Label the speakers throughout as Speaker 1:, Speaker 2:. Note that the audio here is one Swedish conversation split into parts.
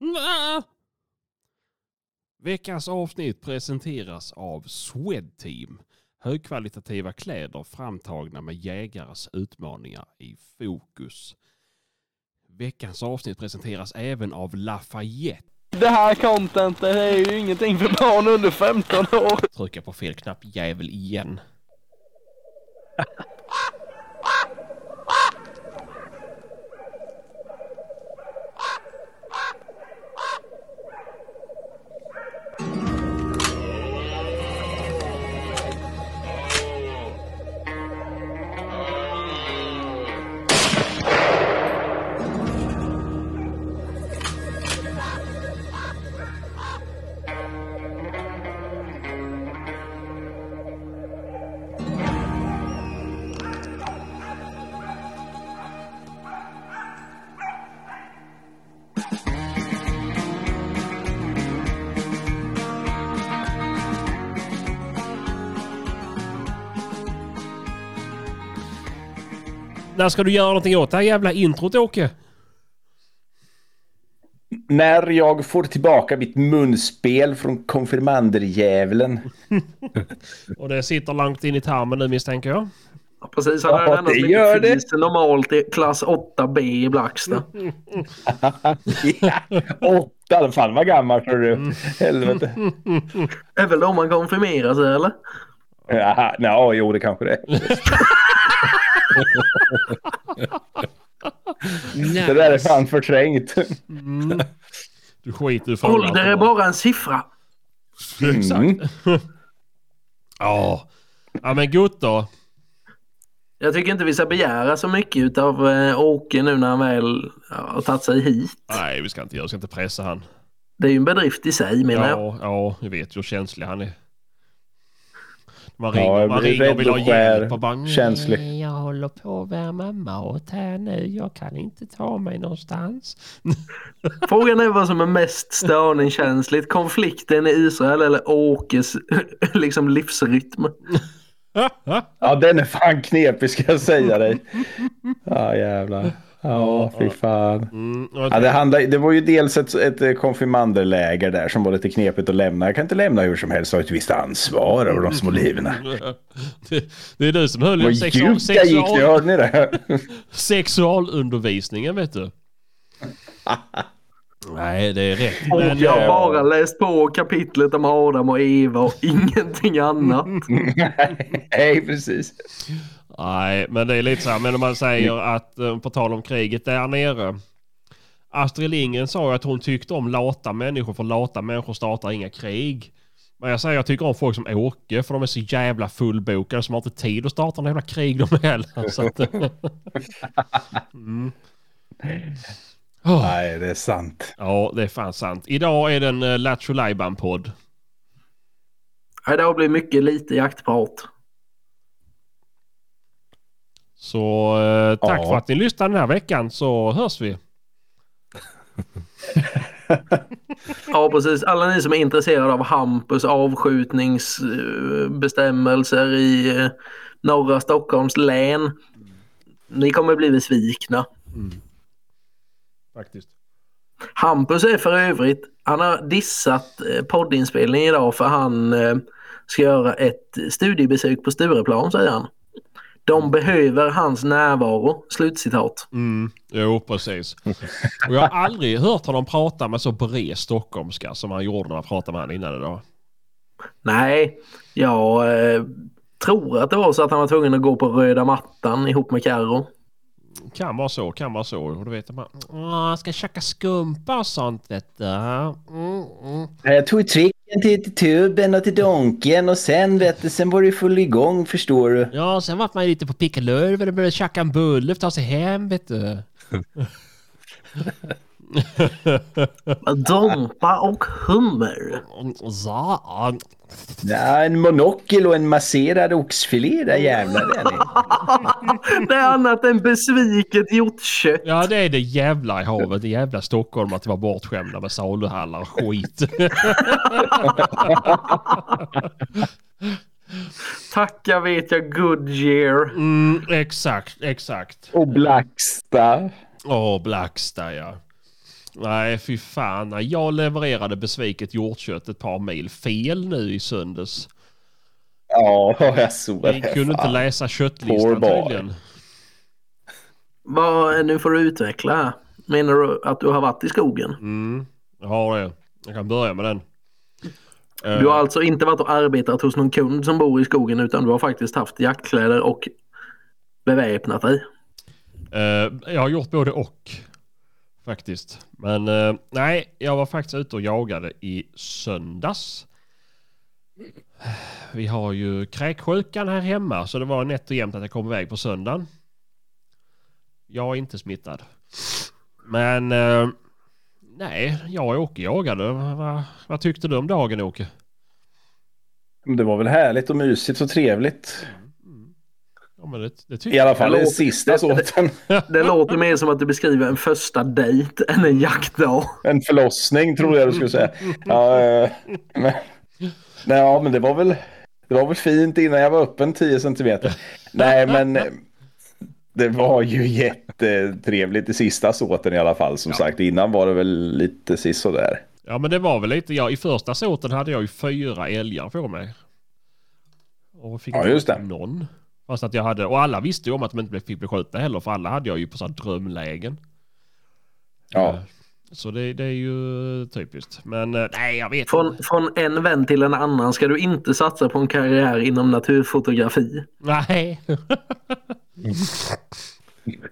Speaker 1: Nä. Veckans avsnitt presenteras av Swedteam. Högkvalitativa kläder framtagna med jägares utmaningar i fokus. Veckans avsnitt presenteras även av Lafayette.
Speaker 2: Det här contentet är ju ingenting för barn under 15 år.
Speaker 1: Trycka på fel knapp jävel igen. När ska du göra någonting åt det här jävla introt Åke?
Speaker 3: När jag får tillbaka mitt munspel från konfirmanderjävulen.
Speaker 1: Och det sitter långt in i tarmen nu misstänker jag.
Speaker 2: Precis, han är
Speaker 3: Ja,
Speaker 2: den enda
Speaker 3: det
Speaker 2: som
Speaker 3: gör
Speaker 2: inte
Speaker 3: det.
Speaker 2: finns normalt i klass 8B i Blacksta.
Speaker 3: Ja, Åtta, fan vad gammal tror du. Helvete.
Speaker 2: Det är väl då man konfirmerar sig eller?
Speaker 3: Jaha, ja, jo det kanske det är. Det där är fan förträngt.
Speaker 1: Du skiter i fan
Speaker 2: Ålder är bara en siffra.
Speaker 3: Mm.
Speaker 1: Ja. Ja men gott då.
Speaker 2: Jag tycker inte vi ska begära så mycket av eh, Åke nu när han väl ja, har tagit sig hit.
Speaker 1: Nej vi ska inte göra, vi ska inte pressa han.
Speaker 2: Det är ju en bedrift i sig menar jag.
Speaker 1: Ja, ja, jag vet ju hur känslig han är. Man ringer,
Speaker 3: Ja, jag
Speaker 1: man
Speaker 3: blir
Speaker 1: ringer och vill
Speaker 3: rädd
Speaker 1: ha
Speaker 3: och skär.
Speaker 1: hjälp och bara...
Speaker 3: Känslig.
Speaker 1: "Nej, Jag håller på att värma mat här nu. Jag kan inte ta mig någonstans.
Speaker 2: Frågan är vad som är mest störningskänsligt. Konflikten i Israel eller Åkes liksom, livsrytm.
Speaker 3: Ja, den är fan knepig ska jag säga dig. Ja, jävlar. Ja, fy fan.
Speaker 1: Mm, och
Speaker 3: Ja, det, handlar, det var ju dels ett, ett konfirmanderläger där som var lite knepigt att lämna. Jag kan inte lämna hur som helst och har ett visst ansvar över de små liven.
Speaker 1: det, det är du som höll
Speaker 3: Vad
Speaker 1: i sexual,
Speaker 3: djupt jag gick, det
Speaker 1: sexual,
Speaker 3: hörde ni det?
Speaker 1: sexualundervisningen vet du. Nej det är rätt. Men,
Speaker 2: jag har
Speaker 3: ja.
Speaker 2: bara läst på kapitlet om Adam och Eva och ingenting annat.
Speaker 3: Nej, precis.
Speaker 1: nej men det är lite så här, men om man säger att eh, på tal om kriget där nere. Astrid Lindgren sa ju att hon tyckte om lata människor för lata människor startar inga krig. Men jag säger jag tycker om folk som åker för de är så jävla fullbokade som har inte tid att starta några jävla krig de heller. Så att, mm. oh.
Speaker 3: Nej, det är sant.
Speaker 1: Ja, det är fan sant. Idag är det en uh, Lattjo Lajban-podd.
Speaker 2: Nej, Det har blivit mycket lite jaktprat.
Speaker 1: Så eh, tack
Speaker 3: Ja.
Speaker 1: för att ni lyssnade den här veckan så hörs vi.
Speaker 2: Ja, precis. Alla ni som är intresserade av Hampus avskjutningsbestämmelser i eh, norra Stockholms län. Ni kommer bli besvikna.
Speaker 1: Faktiskt.
Speaker 2: Hampus är för övrigt, han har dissat eh, poddinspelningen idag för han eh, ska göra ett studiebesök på Stureplan säger han. De behöver hans närvaro, slutcitat.
Speaker 1: Mm, jo, precis. Och jag har aldrig hört honom prata med så bred stockholmska som han gjorde när jag pratade med honom innan idag.
Speaker 2: Nej, jag eh, tror att det var så att han var tvungen att gå på röda mattan ihop med Carro.
Speaker 1: Kan vara så, kan vara så. Och då vet man, "Åh, ska käka skumpa och sånt vet du. Mm, mm.
Speaker 3: Jag tog tricken till, till tuben och till donken och sen, vet du, sen var det full igång, förstår du.
Speaker 1: Ja, sen vart man ju lite på pickalurven och började tjacka en bulle för att ta sig hem vet du.
Speaker 2: Dompa och hummer.
Speaker 1: Och så,
Speaker 3: Ja, en monokel och en masserad oxfilé, där jävlar. Där ni.
Speaker 2: Det är annat än besviket hjortkött.
Speaker 1: Ja det är det jävla i havet, det jävla Stockholm att vara bortskämda med saluhallar och skit.
Speaker 2: Tacka vet jag Goodyear.
Speaker 1: Mm, exakt, exakt.
Speaker 3: Och Blacksta.
Speaker 1: Åh, Blacksta ja. Nej, fy fan. Nej, Jag levererade besviket hjortkött ett par mil fel nu i söndags.
Speaker 3: Ja, jag såg
Speaker 1: Vi
Speaker 3: det.
Speaker 1: kunde inte
Speaker 3: Fan.
Speaker 1: läsa
Speaker 3: Poor
Speaker 1: köttlistan
Speaker 3: boy.
Speaker 1: tydligen.
Speaker 2: Vad, eh, nu får du utveckla här. Menar du att du har varit i skogen?
Speaker 1: Mm, jag har det. Jag kan börja med den.
Speaker 2: Du har alltså inte varit och arbetat hos någon kund som bor i skogen utan du har faktiskt haft jaktkläder och beväpnat dig.
Speaker 1: Eh, jag har gjort både och faktiskt. Men eh, nej, jag var faktiskt ute och jagade i söndags. Vi har ju kräksjukan här hemma så det var nätt och jämnt att jag kom iväg på söndagen. Jag är inte smittad. Men eh, nej, jag och Åke jagade. Vad, vad tyckte du om dagen Åke?
Speaker 3: Det var väl härligt och mysigt och trevligt.
Speaker 1: Ja, men det, det
Speaker 3: I
Speaker 1: tyckte
Speaker 3: alla fall
Speaker 2: Hallå.
Speaker 3: den sista såten.
Speaker 2: Det låter mer som att du beskriver en första dejt än en jaktdag.
Speaker 3: En förlossning trodde jag du skulle säga. Ja, eh, men, nej, ja, men det var väl det var väl fint innan jag var öppen 10 centimeter. Nej, men eh, det var ju jättetrevligt i sista såten i alla fall. Som sagt, innan var det väl lite sisådär.
Speaker 1: Ja men det var väl lite, ja, i första såten hade jag ju fyra älgar på mig. Och fick
Speaker 3: Ja,
Speaker 1: inte
Speaker 3: just
Speaker 1: skjuta
Speaker 3: det.
Speaker 1: någon. Fast att jag hade, och alla visste ju om att de inte fick bli skjutna heller för alla hade jag ju på sådana drömlägen.
Speaker 3: Ja.
Speaker 1: Eh, Så det, det är ju typiskt. Men eh, nej jag vet
Speaker 2: Från,
Speaker 1: inte.
Speaker 2: från en vän till en annan ska du inte satsa på en karriär inom naturfotografi.
Speaker 1: Nej.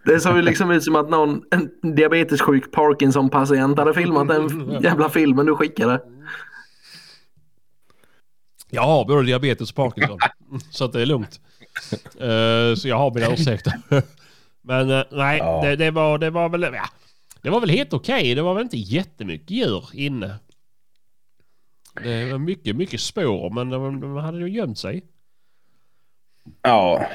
Speaker 2: Det såg ju liksom ut som att någon en diabetessjuk Parkinson-patient hade filmat den jävla filmen du skickade.
Speaker 1: Jag har både diabetes och Parkinson. så att det är lugnt. Eh, så jag har mina ursäkter. Men eh, nej,
Speaker 3: Ja.
Speaker 1: det, det, var, det var väl... Ja, det var väl helt okej. Det var väl inte jättemycket djur inne. Det var mycket, mycket spår, men de, de hade ju gömt sig.
Speaker 3: Ja.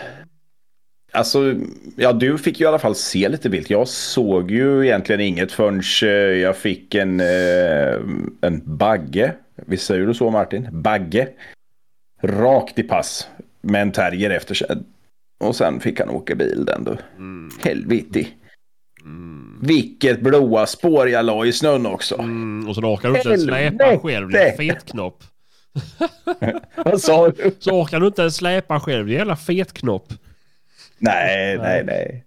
Speaker 3: Alltså, ja, du fick ju i alla fall se lite vilt. Jag såg ju egentligen inget förrän eh, jag fick en, eh, en bagge. Visst säger du så Martin? Bagge. Rakt i pass. Med en terrier efter sig. Och sen fick han åka bil den du. Helvete. Vilket blåa spår jag la i snön också.
Speaker 1: Mm, och sen orkar du inte ens släpa
Speaker 3: Helvete!
Speaker 1: själv, din fetknopp.
Speaker 3: Vad sa du?
Speaker 1: Så orkar du inte ens släpa själv, din jävla fetknopp.
Speaker 3: Nej, nej, nej.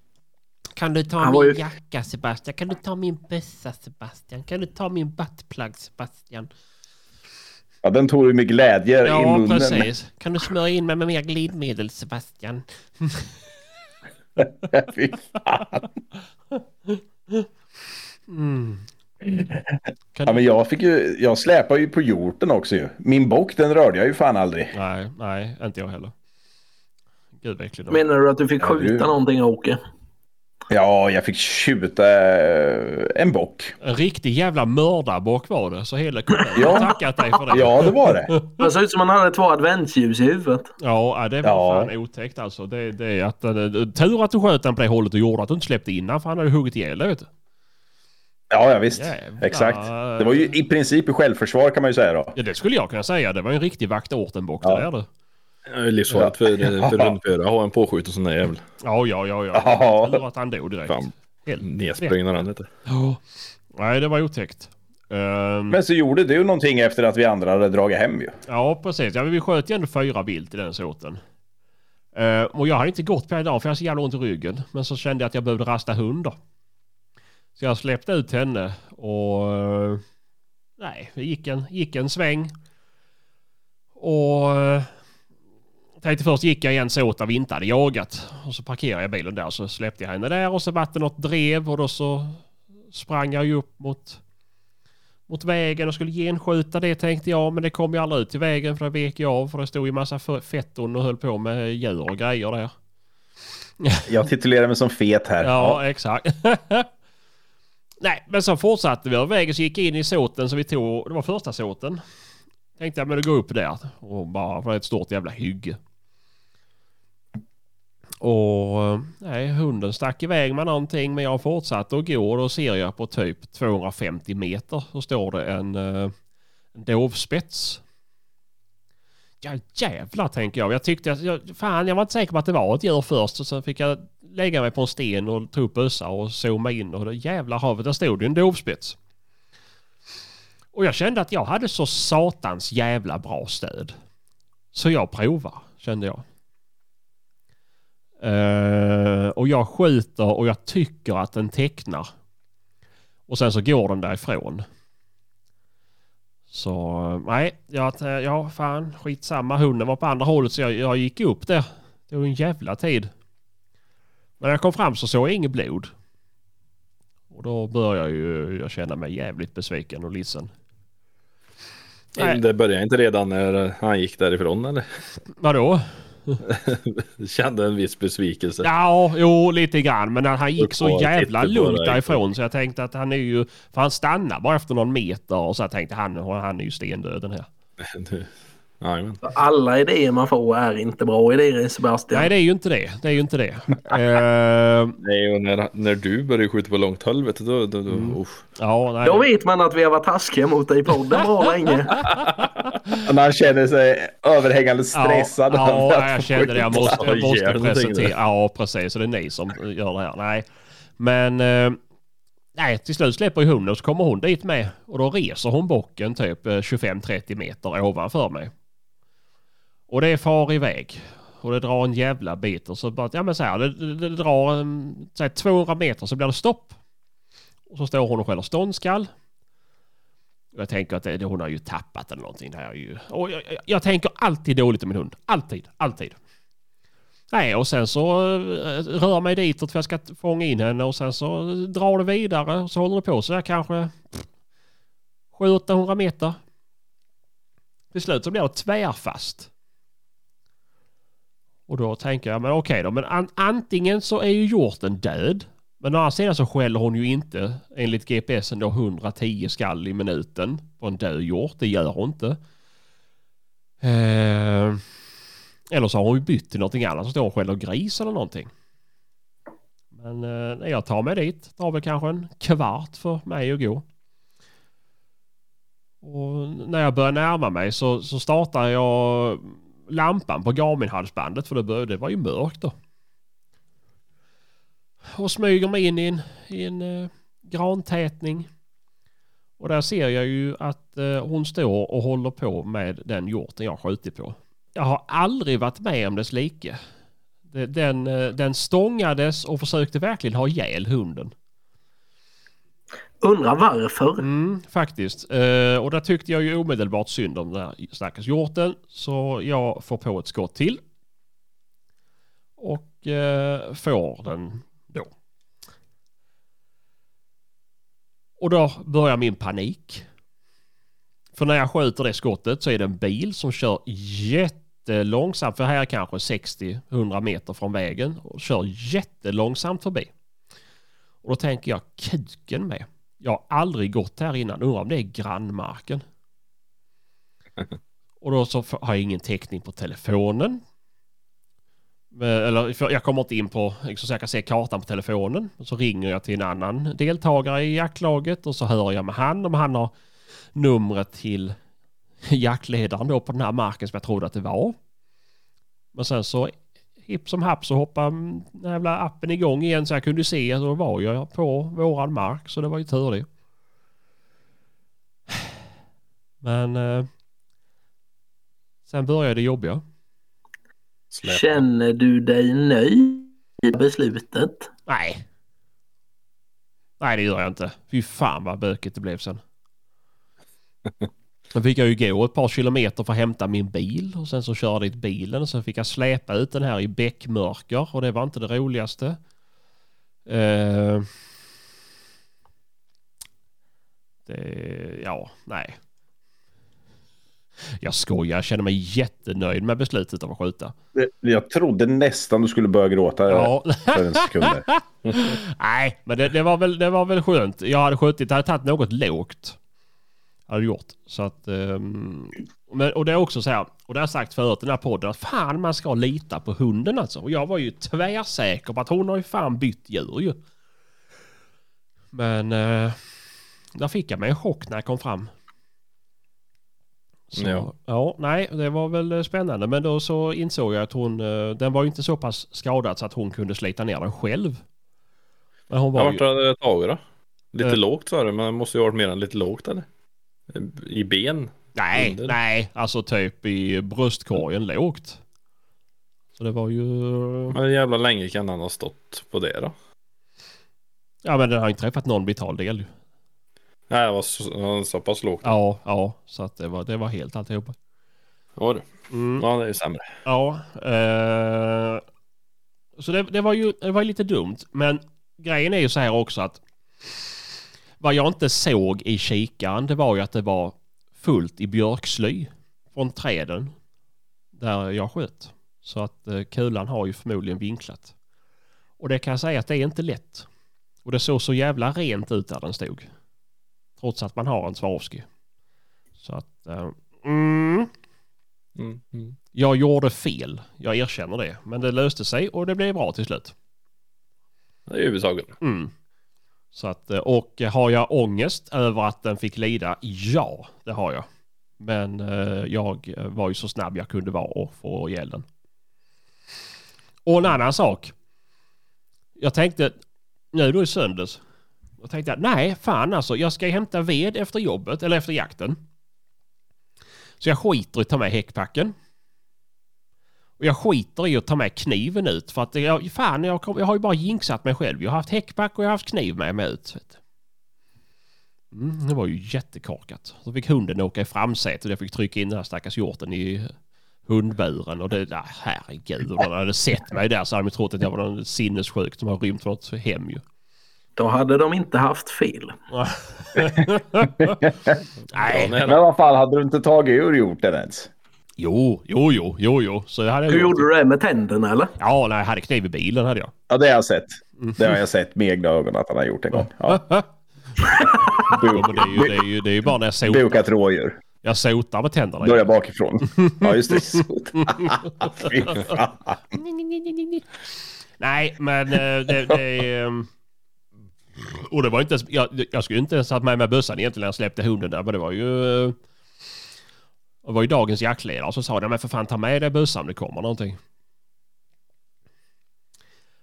Speaker 4: Kan du ta
Speaker 2: Han var
Speaker 4: min
Speaker 2: ju-
Speaker 4: jacka Sebastian? Kan du ta min bössa Sebastian? Kan du ta min buttplug Sebastian?
Speaker 3: Ja, den tog du med glädje i
Speaker 4: Ja,
Speaker 3: munnen.
Speaker 4: precis. Kan du smörja in mig med mer glidmedel Sebastian?
Speaker 3: Fy fan.
Speaker 1: Kan
Speaker 3: Ja,
Speaker 1: du...
Speaker 3: men jag, fick ju, jag släpar ju på hjorten också ju. Min bock den rörde jag ju fan aldrig.
Speaker 1: Nej, nej, inte jag heller. Gud vad äcklig de är.
Speaker 2: Menar du att du fick
Speaker 3: Ja, du-
Speaker 2: skjuta någonting Åke?
Speaker 3: Ja, jag fick tjuta eh, en bock.
Speaker 1: En riktig jävla mördarbock var det, så hela kommunen har
Speaker 3: Ja.
Speaker 1: tackat dig för det.
Speaker 3: Ja, det var det.
Speaker 2: Det såg ut som att han hade två adventsljus i huvudet.
Speaker 1: Ja, äh, det var
Speaker 3: Ja.
Speaker 1: fan otäckt alltså. Det, det är att, äh, tur att du sköt den på det hållet och gjorde att du inte släppte in den, för han hade huggit ihjäl dig, vet du.
Speaker 3: Ja, ja visst.
Speaker 1: Jävlar.
Speaker 3: Exakt. Det var ju i princip i självförsvar kan man ju säga då.
Speaker 1: Ja, det skulle jag kunna säga. Det var ju en riktig vaktortenbock
Speaker 3: Ja.
Speaker 1: det där du.
Speaker 5: Det är Livsfarligt för, för rundföra att ha en påskjuten sån där jävel.
Speaker 1: Ja, ja, ja. ja.
Speaker 3: Ja.
Speaker 1: Tur att han dog direkt.
Speaker 5: Fan.
Speaker 1: Helt.
Speaker 5: Nedsprängd han heter.
Speaker 1: Ja. Nej, det var otäckt. Ehm,
Speaker 3: Men så gjorde du någonting efter att vi andra hade dragit hem ju.
Speaker 1: Ja, precis. Ja, men vi sköt ju ändå fyra vilt i den sorten. Eh, och jag hade inte gått på det idag för jag hade så jävla ont i ryggen. Men så kände jag att jag behövde rasta hundar. Så jag släppte ut henne och... eh, nej, det gick en, gick en sväng. Och... Uh, tänkte först gick jag i en såt där vi inte hade jagat. Och så parkerade jag bilen där så släppte jag henne där och så vart det något drev och då så sprang jag ju upp mot mot vägen och skulle genskjuta det tänkte jag. Men det kom ju aldrig ut till vägen för det vek jag av. För det stod ju massa f- fetton och höll på med djur och grejer där.
Speaker 3: Jag titulerar mig som fet här.
Speaker 1: Ja, exakt. Nej, men så fortsatte vi över vägen så gick jag in i såten så vi tog, det var första såten. Tänkte jag men då går jag upp där och bara, för det är ett stort jävla hygge. Och eh, nej, hunden stack iväg med någonting men jag fortsatte att gå och då ser jag på typ 250 meter så står det en, eh, en dovspets. Ja jävlar tänker jag. Jag tyckte att, jag, fan jag var inte säker på att det var ett djur först och sen fick jag lägga mig på en sten och ta upp bössa och zooma in och då jävlar havet, där stod ju en dovspets. Och jag kände att jag hade så satans jävla bra stöd. Så jag provar, kände jag. Eh, och jag skjuter och jag tycker att den tecknar. Och sen så går den därifrån. Så eh, nej, jag, t- ja fan skitsamma. Hunden var på andra hållet så jag, jag gick upp där. Det var en jävla tid. Men när jag kom fram så såg jag inget blod. Och då började jag ju jag känna mig jävligt besviken och ledsen. Nej.
Speaker 5: Det började inte redan när han gick därifrån eller?
Speaker 1: Vadå?
Speaker 5: Kände en viss besvikelse.
Speaker 1: Ja, jo lite grann. Men han gick så
Speaker 5: Uppåt,
Speaker 1: jävla
Speaker 5: titta på
Speaker 1: lugnt
Speaker 5: dig.
Speaker 1: därifrån så jag tänkte att han är ju... För han stannar bara efter någon meter och så jag tänkte han, han är ju stendöd den här.
Speaker 5: Du- Jajamän.
Speaker 2: För Alla idéer man får är inte bra idéer Sebastian.
Speaker 1: Nej, det är ju inte det. Det är ju inte det. Eh,
Speaker 5: Nej, och när, när du började skjuta på långt håll vet du, då, då, då, uff.
Speaker 1: ja, nej.
Speaker 2: Då vet man att vi har varit taskiga mot dig i podden bra länge.
Speaker 3: När han känner sig överhängande stressad.
Speaker 1: Ja,
Speaker 3: över
Speaker 1: ja
Speaker 3: att
Speaker 1: jag
Speaker 3: få
Speaker 1: kände det. Jag
Speaker 3: skjuta.
Speaker 1: måste, jag
Speaker 5: Ja,
Speaker 1: måste
Speaker 5: jävlar,
Speaker 1: presentera.
Speaker 5: tänkte
Speaker 1: Ja, precis. Så det är ni som gör det här. Nej. Men... Eh, nej, till slut släpper ju hunden och så kommer hon dit med. Och då reser hon bocken typ eh, 25-30 meter ovanför mig. Och det far iväg. Och det drar en jävla bit och så bara, ja men så här, det, det, det drar mm, så här, 200 meter så blir det stopp. Och så står hon och skäller ståndskall. Och Jag tänker att det, det- hon har ju tappat eller någonting. Det här är ju, och jag, jag, jag tänker alltid dåligt om min hund. Alltid, alltid. Nej, och sen så eh, rör jag mig ditåt för jag ska t- fånga in henne och sen så eh, drar det vidare och så håller det på så där kanske 700-800 meter. Till slut så blir det tvärfast. Och då tänker jag, men okej då, men an, antingen så är ju hjorten död. Men å andra sidan så skäller hon ju inte enligt GPSen då 110 skall i minuten på en död hjort. Det gör hon inte. Eh, eller så har hon ju bytt till någonting annat. Så står hon och skäller gris eller någonting. Men eh, nej, jag tar mig dit. Det tar väl kanske en kvart för mig att gå. Och när jag börjar närma mig så, så startar jag lampan på Garmin-halsbandet för det, började, det var ju mörkt då. Och smyger mig in i en, i en eh, grantätning. Och där ser jag ju att eh, hon står och håller på med den hjorten jag skjutit på. Jag har aldrig varit med om dess like. Det- Den, eh, den stångades och försökte verkligen ha ihjäl hunden.
Speaker 2: Undrar varför.
Speaker 1: Mm, faktiskt. Eh, och där tyckte jag ju omedelbart synd om den här stackars hjorten. Så jag får på ett skott till. Och eh, får den då. Och då börjar min panik. För när jag skjuter det skottet så är det en bil som kör jättelångsamt. För här är kanske 60-100 meter från vägen. Och kör jättelångsamt förbi. Och då tänker jag kuken med. Jag har aldrig gått här innan. Undrar om det är grannmarken. Och då så f- har jag ingen täckning på telefonen. Men- Eller för jag kommer inte in på, liksom, så jag kan se kartan på telefonen. Och så ringer jag till en annan deltagare i jaktlaget och så hör jag med han om han har numret till jaktledaren då på den här marken som jag trodde att det var. Men sen så hipp som happ så hoppade mm, den här jävla appen igång igen så jag kunde se att då var jag på våran mark så det var ju tur det. Men eh, sen började det jobbiga.
Speaker 5: Släp.
Speaker 2: Känner du dig nöjd med beslutet?
Speaker 1: Nej. Nej det gör jag inte. Fy fan vad bökigt det blev sen. Sen fick jag ju gå ett par kilometer för att hämta min bil och sen så körde jag dit bilen och sen fick jag släpa ut den här i bäckmörker och det var inte det roligaste. Eh. Det, ja, nej. Jag skojar, jag känner mig jättenöjd med beslutet om att skjuta.
Speaker 3: Jag trodde nästan du skulle börja gråta
Speaker 1: Ja,
Speaker 3: för en sekund. där.
Speaker 1: Nej, men det, det, var väl, det var väl skönt. Jag hade skjutit, jag hade tagit något lågt. Hade jag gjort. Så att... ehm, men, och det är också så här, och det har jag sagt förut i den här podden, att fan man ska lita på hunden alltså. Och jag var ju tvärsäker på att hon har ju fan bytt djur ju. Men... Eh, där fick jag mig en chock när jag kom fram. Så, ja.
Speaker 5: Ja.
Speaker 1: nej, det var väl eh, spännande. Men då så insåg jag att hon, eh, den var ju inte så pass skadad så att hon kunde slita ner den själv. Men hon
Speaker 5: Ja,
Speaker 1: var
Speaker 5: vart
Speaker 1: ju...
Speaker 5: hade det tagit då? Lite
Speaker 1: Eh.
Speaker 5: lågt sa du, men det måste ju ha varit mer än lite lågt eller? I ben?
Speaker 1: Nej,
Speaker 5: Under?
Speaker 1: nej, alltså typ i bröstkorgen lågt. Så det var ju...
Speaker 5: Men hur jävla länge kan han ha stått på det då?
Speaker 1: Ja men den har inte träffat någon vital del ju.
Speaker 5: Nej, det var så, så pass lågt.
Speaker 1: Ja, ja, så att det var, det var helt alltihopa.
Speaker 5: Ja, du.
Speaker 1: Mm.
Speaker 5: ja, det är ju sämre.
Speaker 1: Ja. Eh, så det, det var ju det var ju lite dumt. Men grejen är ju så här också att vad jag inte såg i kikaren det var ju att det var fullt i björksly från träden där jag sköt. Så att eh, kulan har ju förmodligen vinklat. Och det kan jag säga att det är inte lätt. Och det såg så jävla rent ut där den stod. Trots att man har en Swarovski. Så att... Eh, mm.
Speaker 5: Mm. Mm.
Speaker 1: Jag gjorde fel, jag erkänner det. Men det löste sig och det blev bra till slut.
Speaker 5: Det är ju huvudsaken.
Speaker 1: Mm. Så att, eh, och har jag ångest över att den fick lida? Ja, det har jag. Men eh, jag var ju så snabb jag kunde vara och få ihjäl den. Och en annan sak. Jag tänkte, nu då i söndags. Jag tänkte jag, nej fan alltså, jag ska hämta ved efter jobbet eller efter jakten. Så jag skiter i att ta med häckpacken. Och jag skiter i att ta med kniven ut för att jag, fan jag, kom, jag har ju bara jinxat mig själv. Jag har haft häckpack och jag har haft kniv med mig ut. Vet du. Mm, det var ju jättekorkat. Så fick hunden åka i framsätet och jag fick trycka in den här stackars hjorten i hundburen och det där herregud om de hade sett mig där så hade de trott att jag var någon sinnessjuk som har rymt från något hem ju.
Speaker 2: Då hade de inte haft fel.
Speaker 1: Nej,
Speaker 5: Ja,
Speaker 3: Men i alla fall, hade du inte tagit ur hjorten ens?
Speaker 1: jo, jo, jo, jo, jo. Så det hade jag
Speaker 2: Hur
Speaker 1: gjort.
Speaker 2: gjorde du det med tänderna eller?
Speaker 1: Ja, nej, jag hade kniv i bilen hade jag.
Speaker 3: Ja, det har jag sett.
Speaker 1: Mm.
Speaker 3: Det har jag sett med egna ögon att han har gjort en gång. Ja.
Speaker 1: Ja, men det är ju, det är ju, det är ju bara när jag sotar.
Speaker 3: Bukat rådjur.
Speaker 1: Jag sotar med tänderna.
Speaker 3: Börja bakifrån. Ja, just det. Fy fan.
Speaker 1: Nej, men eh, det... det ehm, och det var inte ens, jag, jag skulle inte ens haft med mig bössan egentligen när jag släppte hunden där, men det var ju... eh, Det var ju dagens jaktledare som sa det, men för fan ta med dig bössan om det kommer någonting.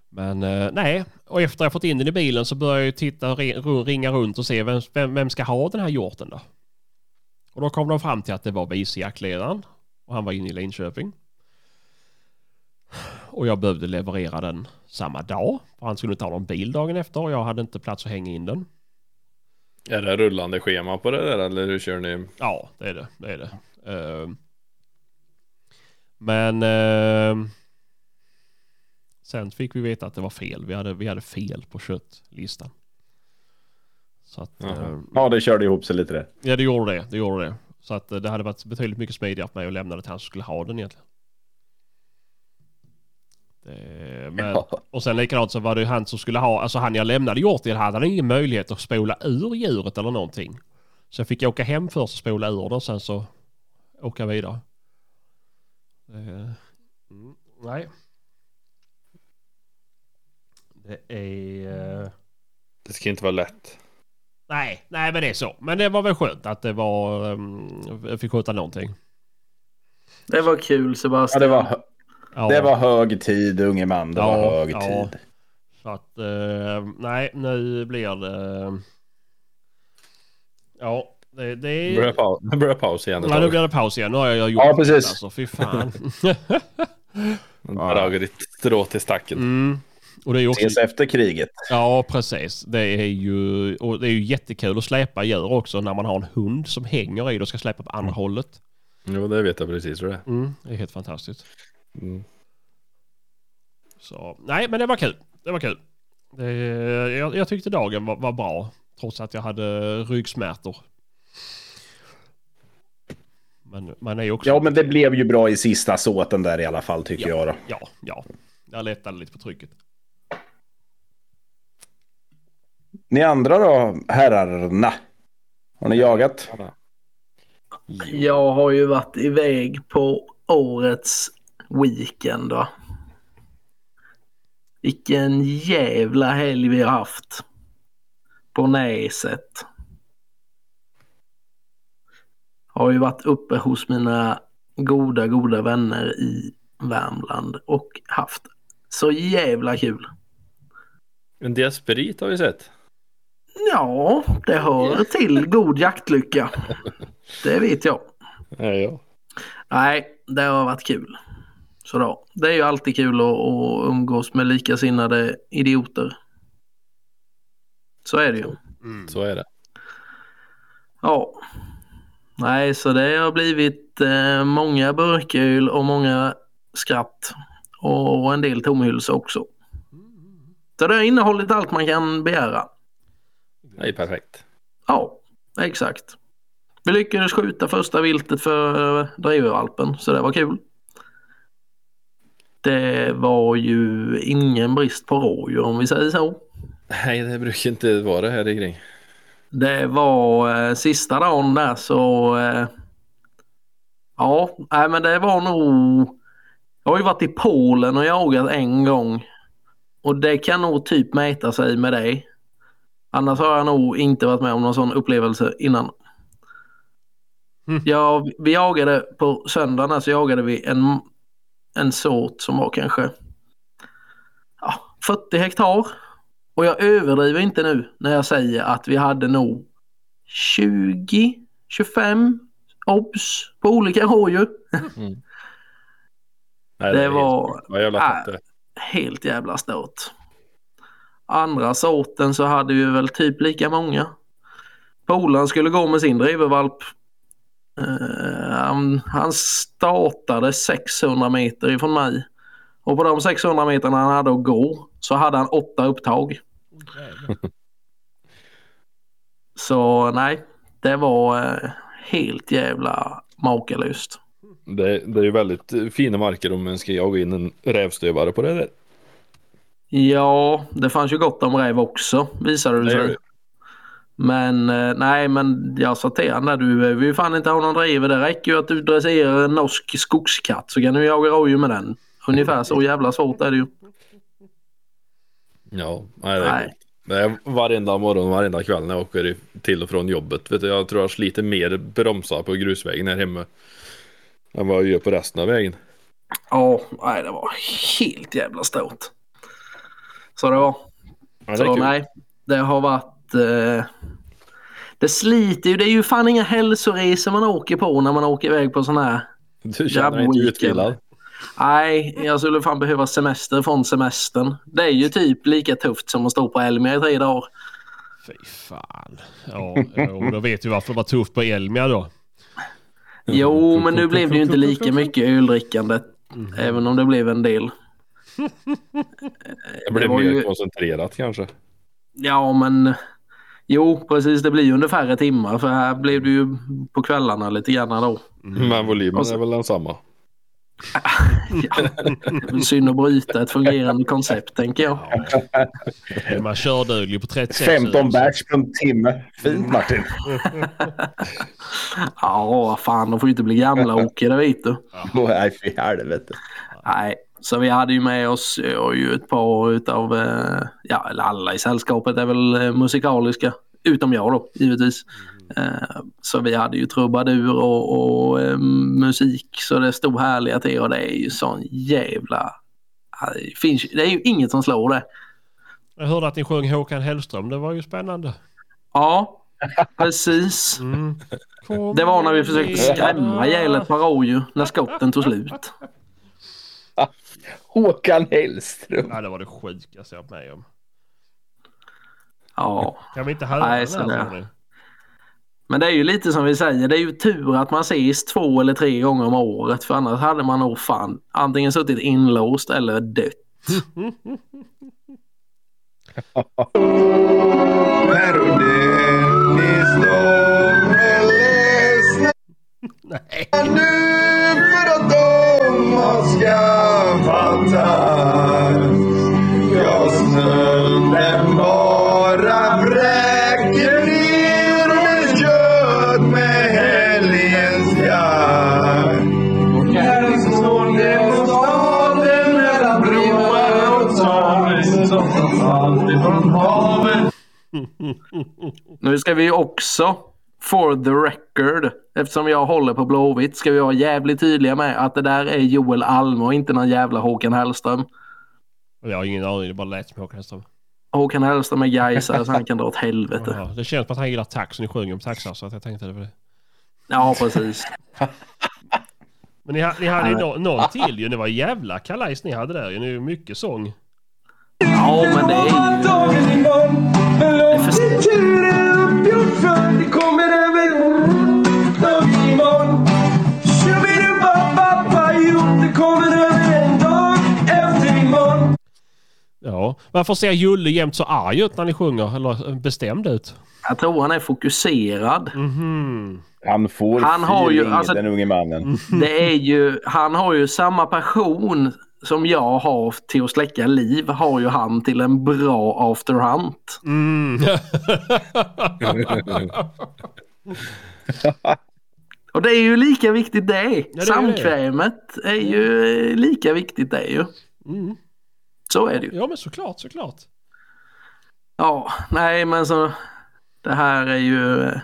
Speaker 1: Men eh, nej, och efter jag fått in den i bilen så började jag titta, ri- ringa runt och se vem, vem, vem ska ha den här hjorten då? Och då kom de fram till att det var vice jaktledaren och han var inne i Linköping. Och jag behövde leverera den samma dag. För han skulle ta någon bil dagen efter och jag hade inte plats att hänga in den.
Speaker 5: Är det rullande schema på det där eller hur kör ni?
Speaker 1: Ja, det är det. det, är det. Ehm. men ehm, sen fick vi veta att det var fel. Vi hade, vi hade fel på köttlistan. Så att,
Speaker 5: Jaha.
Speaker 1: ehm,
Speaker 3: Ja, det körde ihop sig lite där.
Speaker 1: ja det gjorde det. Det gjorde det. Så att eh, det hade varit betydligt mycket smidigare för mig att lämna det till han som skulle ha den egentligen. Det, men,
Speaker 3: Ja.
Speaker 1: Och sen likadant så var det ju han som skulle ha, alltså han jag lämnade hjort till, han hade ingen möjlighet att spola ur djuret eller någonting. Så jag fick åka hem först och spola ur det och sen så åka vidare. Eh, mm, nej. Det är... eh,
Speaker 5: Det ska inte vara lätt.
Speaker 1: Nej, nej men det är så. Men det var väl skönt att det var... ehm, jag fick skjuta någonting.
Speaker 2: Det var kul
Speaker 3: Ja,
Speaker 2: Sebastian.
Speaker 3: det, var,
Speaker 1: Ja,
Speaker 3: det var hög tid, unge man. Det
Speaker 1: Ja,
Speaker 3: var hög
Speaker 1: ja.
Speaker 3: tid.
Speaker 1: Så att... eh, nej, nu blir det... Ja, det...
Speaker 5: Nu
Speaker 1: det
Speaker 5: börjar paus, nu börjar paus igen.
Speaker 1: Ja, nu blir det paus igen. Nu har jag gjort
Speaker 3: Ja, precis.
Speaker 1: det, Alltså, fy fan.
Speaker 5: Dragit ditt strå till stacken.
Speaker 1: Mm. Och det är ju också,
Speaker 3: Ses efter kriget.
Speaker 1: ja, precis. Det är, ju, och det är ju jättekul att släpa djur också när man har en hund som hänger i det och ska släpa på andra
Speaker 3: Mm.
Speaker 1: hållet.
Speaker 5: Jo, det vet jag precis hur det är.
Speaker 1: Mm. Det är helt fantastiskt.
Speaker 5: Mm.
Speaker 1: Så, nej, men det var kul. Det var kul. Det, jag, jag tyckte dagen var, var bra, trots att jag hade ryggsmärtor. Men man är ju också...
Speaker 3: Ja, men det blev ju bra i sista såten där i alla fall, tycker jag. Då.
Speaker 1: Ja, ja. Jag lättade lite på trycket.
Speaker 3: Ni andra då, herrarna? Har ni jagat?
Speaker 2: Jag har ju varit iväg på årets weekend. Då. Vilken jävla helg vi har haft. På näset. Har ju varit uppe hos mina goda, goda vänner i Värmland och haft så jävla kul.
Speaker 5: En del sprit har vi sett.
Speaker 2: Ja, det hör till god jaktlycka. Det vet jag.
Speaker 5: Ja, ja.
Speaker 2: Nej, det har varit kul. Så då, det är ju alltid kul att, att umgås med likasinnade idioter. Så är det ju.
Speaker 1: Mm.
Speaker 5: Så är det.
Speaker 2: Ja. Nej, så det har blivit eh, många burköl och många skratt. Och en del tomhylsor också.
Speaker 1: Mm.
Speaker 2: Så det har innehållit allt man kan begära.
Speaker 5: Det är perfekt.
Speaker 2: Ja, exakt. Vi lyckades skjuta första viltet för eh, drivvalpen, så det var kul. Det var ju ingen brist på rådjur om vi säger så.
Speaker 5: Nej, det brukar inte vara här i kring.
Speaker 2: Det var eh, sista dagen där så... Eh, ja, nej, men det var nog... Jag har ju varit i Polen och jagat en gång. Och det kan nog typ mäta sig med dig. Annars har jag nog inte varit med om någon sån upplevelse innan.
Speaker 1: Mm.
Speaker 2: Ja, vi jagade på söndagen där så jagade vi en, en sort som var kanske ja, 40 hektar. Och jag överdriver inte nu när jag säger att vi hade nog 20, 25 obs på olika rådjur.
Speaker 5: Nej, är
Speaker 2: Det
Speaker 5: helt
Speaker 2: var-
Speaker 5: sjukt. Vad jävla
Speaker 2: Ah.
Speaker 5: tätt det.
Speaker 2: helt jävla stort. Andra sorten så hade vi väl typ lika många. Polaren skulle gå med sin drivervalp. Eh, han, han startade 600 meter ifrån mig. Och på de 600 meterna han hade att gå så hade han åtta upptag. Så nej, det var eh, helt jävla makalöst.
Speaker 5: Det, det är ju väldigt eh, fina marker om man ska jaga in en rävstövare på det där.
Speaker 2: Ja, det fanns ju gott om räv också visade det
Speaker 5: Det gör
Speaker 2: sig.
Speaker 5: det.
Speaker 2: Men eh, nej, men jag sa till honom där, du eh, vill ju fan inte ha någon driver. Det räcker ju att du dresserar en norsk skogskatt så kan du jaga rådjur med den. Ungefär
Speaker 5: Mm.
Speaker 2: så jävla svårt är det ju.
Speaker 5: Ja, nej, det,
Speaker 2: Nej.
Speaker 5: är det är varenda morgon, varenda kväll när jag åker i- till och från jobbet. Vet du, jag tror jag sliter mer bromsar på grusvägen här hemma än vad jag gör på resten av vägen.
Speaker 2: Ja, nej, det var helt jävla stort. Så det var.
Speaker 5: Ja, det
Speaker 2: Så
Speaker 5: är kul.
Speaker 2: nej, det har varit... Eh, det sliter ju. Det är ju fan inga hälsoresor man åker på när man åker iväg på sån här
Speaker 5: Du känner dig inte
Speaker 2: Grabbweekend.
Speaker 5: utvilad?
Speaker 2: Nej, jag skulle fan behöva semester från semestern. Det är ju typ lika tufft som att stå på Elmia i tre dagar.
Speaker 1: Fy fan. Ja, och då vet vi varför det var tufft på Elmia då.
Speaker 2: Jo, men nu blev det ju inte lika mycket öldrickande. Även om det blev en del.
Speaker 5: Jag blir
Speaker 2: var
Speaker 5: mer
Speaker 2: ju-
Speaker 5: koncentrerat kanske.
Speaker 2: Ja, men... Jo, precis. Det blir ju under färre timmar. För här blev det ju på kvällarna lite grann då.
Speaker 5: Men volymen
Speaker 2: Och så-
Speaker 5: är väl densamma.
Speaker 2: Ja. Det är väl synd att bryta ett fungerande koncept, tänker jag.
Speaker 1: Är man körduglig på 36
Speaker 3: 15
Speaker 1: öl, så-
Speaker 3: bärs på en timme. Fint Martin.
Speaker 2: Ja, fan. De får ju inte bli gamla, Åke. Det vet du.
Speaker 3: Åh, Nej, fy helvete.
Speaker 2: Nej, så vi hade ju med oss eh, ju ett par utav, eh, ja eller alla i sällskapet är väl eh, musikaliska, utom jag då givetvis. Eh, Så vi hade ju trubadur och, och eh, musik så det stod härliga till och det är ju sån jävla, Ja, det finns, det är ju inget som slår det.
Speaker 1: Jag hörde att ni sjöng Håkan Hellström. Det var ju spännande.
Speaker 2: Ja, precis.
Speaker 1: Mm. Kom
Speaker 2: Det var när vi försökte
Speaker 1: igen.
Speaker 2: skrämma ihjäl ett par rådjur när skotten tog slut.
Speaker 3: Håkan Hellström.
Speaker 1: Ja, det var det sjukaste jag varit med om.
Speaker 2: Ja.
Speaker 1: Kan vi inte höra
Speaker 2: Nej,
Speaker 1: den
Speaker 2: så
Speaker 1: här,
Speaker 2: det-
Speaker 1: tror ni?
Speaker 2: Men det är ju lite som vi säger, det är ju tur att man ses två eller tre gånger om året för annars hade man nog fan antingen suttit inlåst eller dött.
Speaker 1: Nej.
Speaker 2: Nu ska vi ju också, for the record, eftersom jag håller på Blåvitt, ska vi vara jävligt tydliga med att det där är Joel Alm och inte någon jävla Håkan Hellström.
Speaker 1: Jag har ingen aning. Det bara lät som Håkan Hellström.
Speaker 2: Håkan Hellström är gaisare så han kan dra åt helvete.
Speaker 1: Ja, det känns som att han gillar tax, ni sjunger om taxar så att jag tänkte det var det.
Speaker 2: Ja, precis.
Speaker 1: Men ni, ha- ni hade ju nå- någon till ju. Det var jävla kalajs ni hade där ju. Det är ju mycket sång.
Speaker 2: Ja, men det är ju...
Speaker 6: Dagen i mun, men låt
Speaker 2: för-
Speaker 6: din tur är uppgjord för det kommer över dagen i mun. Tjubidubababa, jo, det kommer över en dag efter imorgon.
Speaker 1: Ja. Varför ser Julle jämt så arg ut när ni sjunger? Eller eh, bestämd ut?
Speaker 2: Jag tror han är fokuserad.
Speaker 1: Mhm.
Speaker 3: Han får
Speaker 2: Han har ju-
Speaker 3: feeling,
Speaker 2: alltså-
Speaker 3: den unge mannen.
Speaker 2: Det är ju, han har ju samma passion som jag har till att släcka liv har ju han till en bra after hunt.
Speaker 1: Mm.
Speaker 2: Och det är ju lika viktigt det.
Speaker 1: det är
Speaker 2: Samkvämet är ju eh, lika viktigt det ju.
Speaker 1: mm.
Speaker 2: Så är det ju.
Speaker 1: Ja men såklart, såklart.
Speaker 2: Ja, nej men så det här är ju, eh,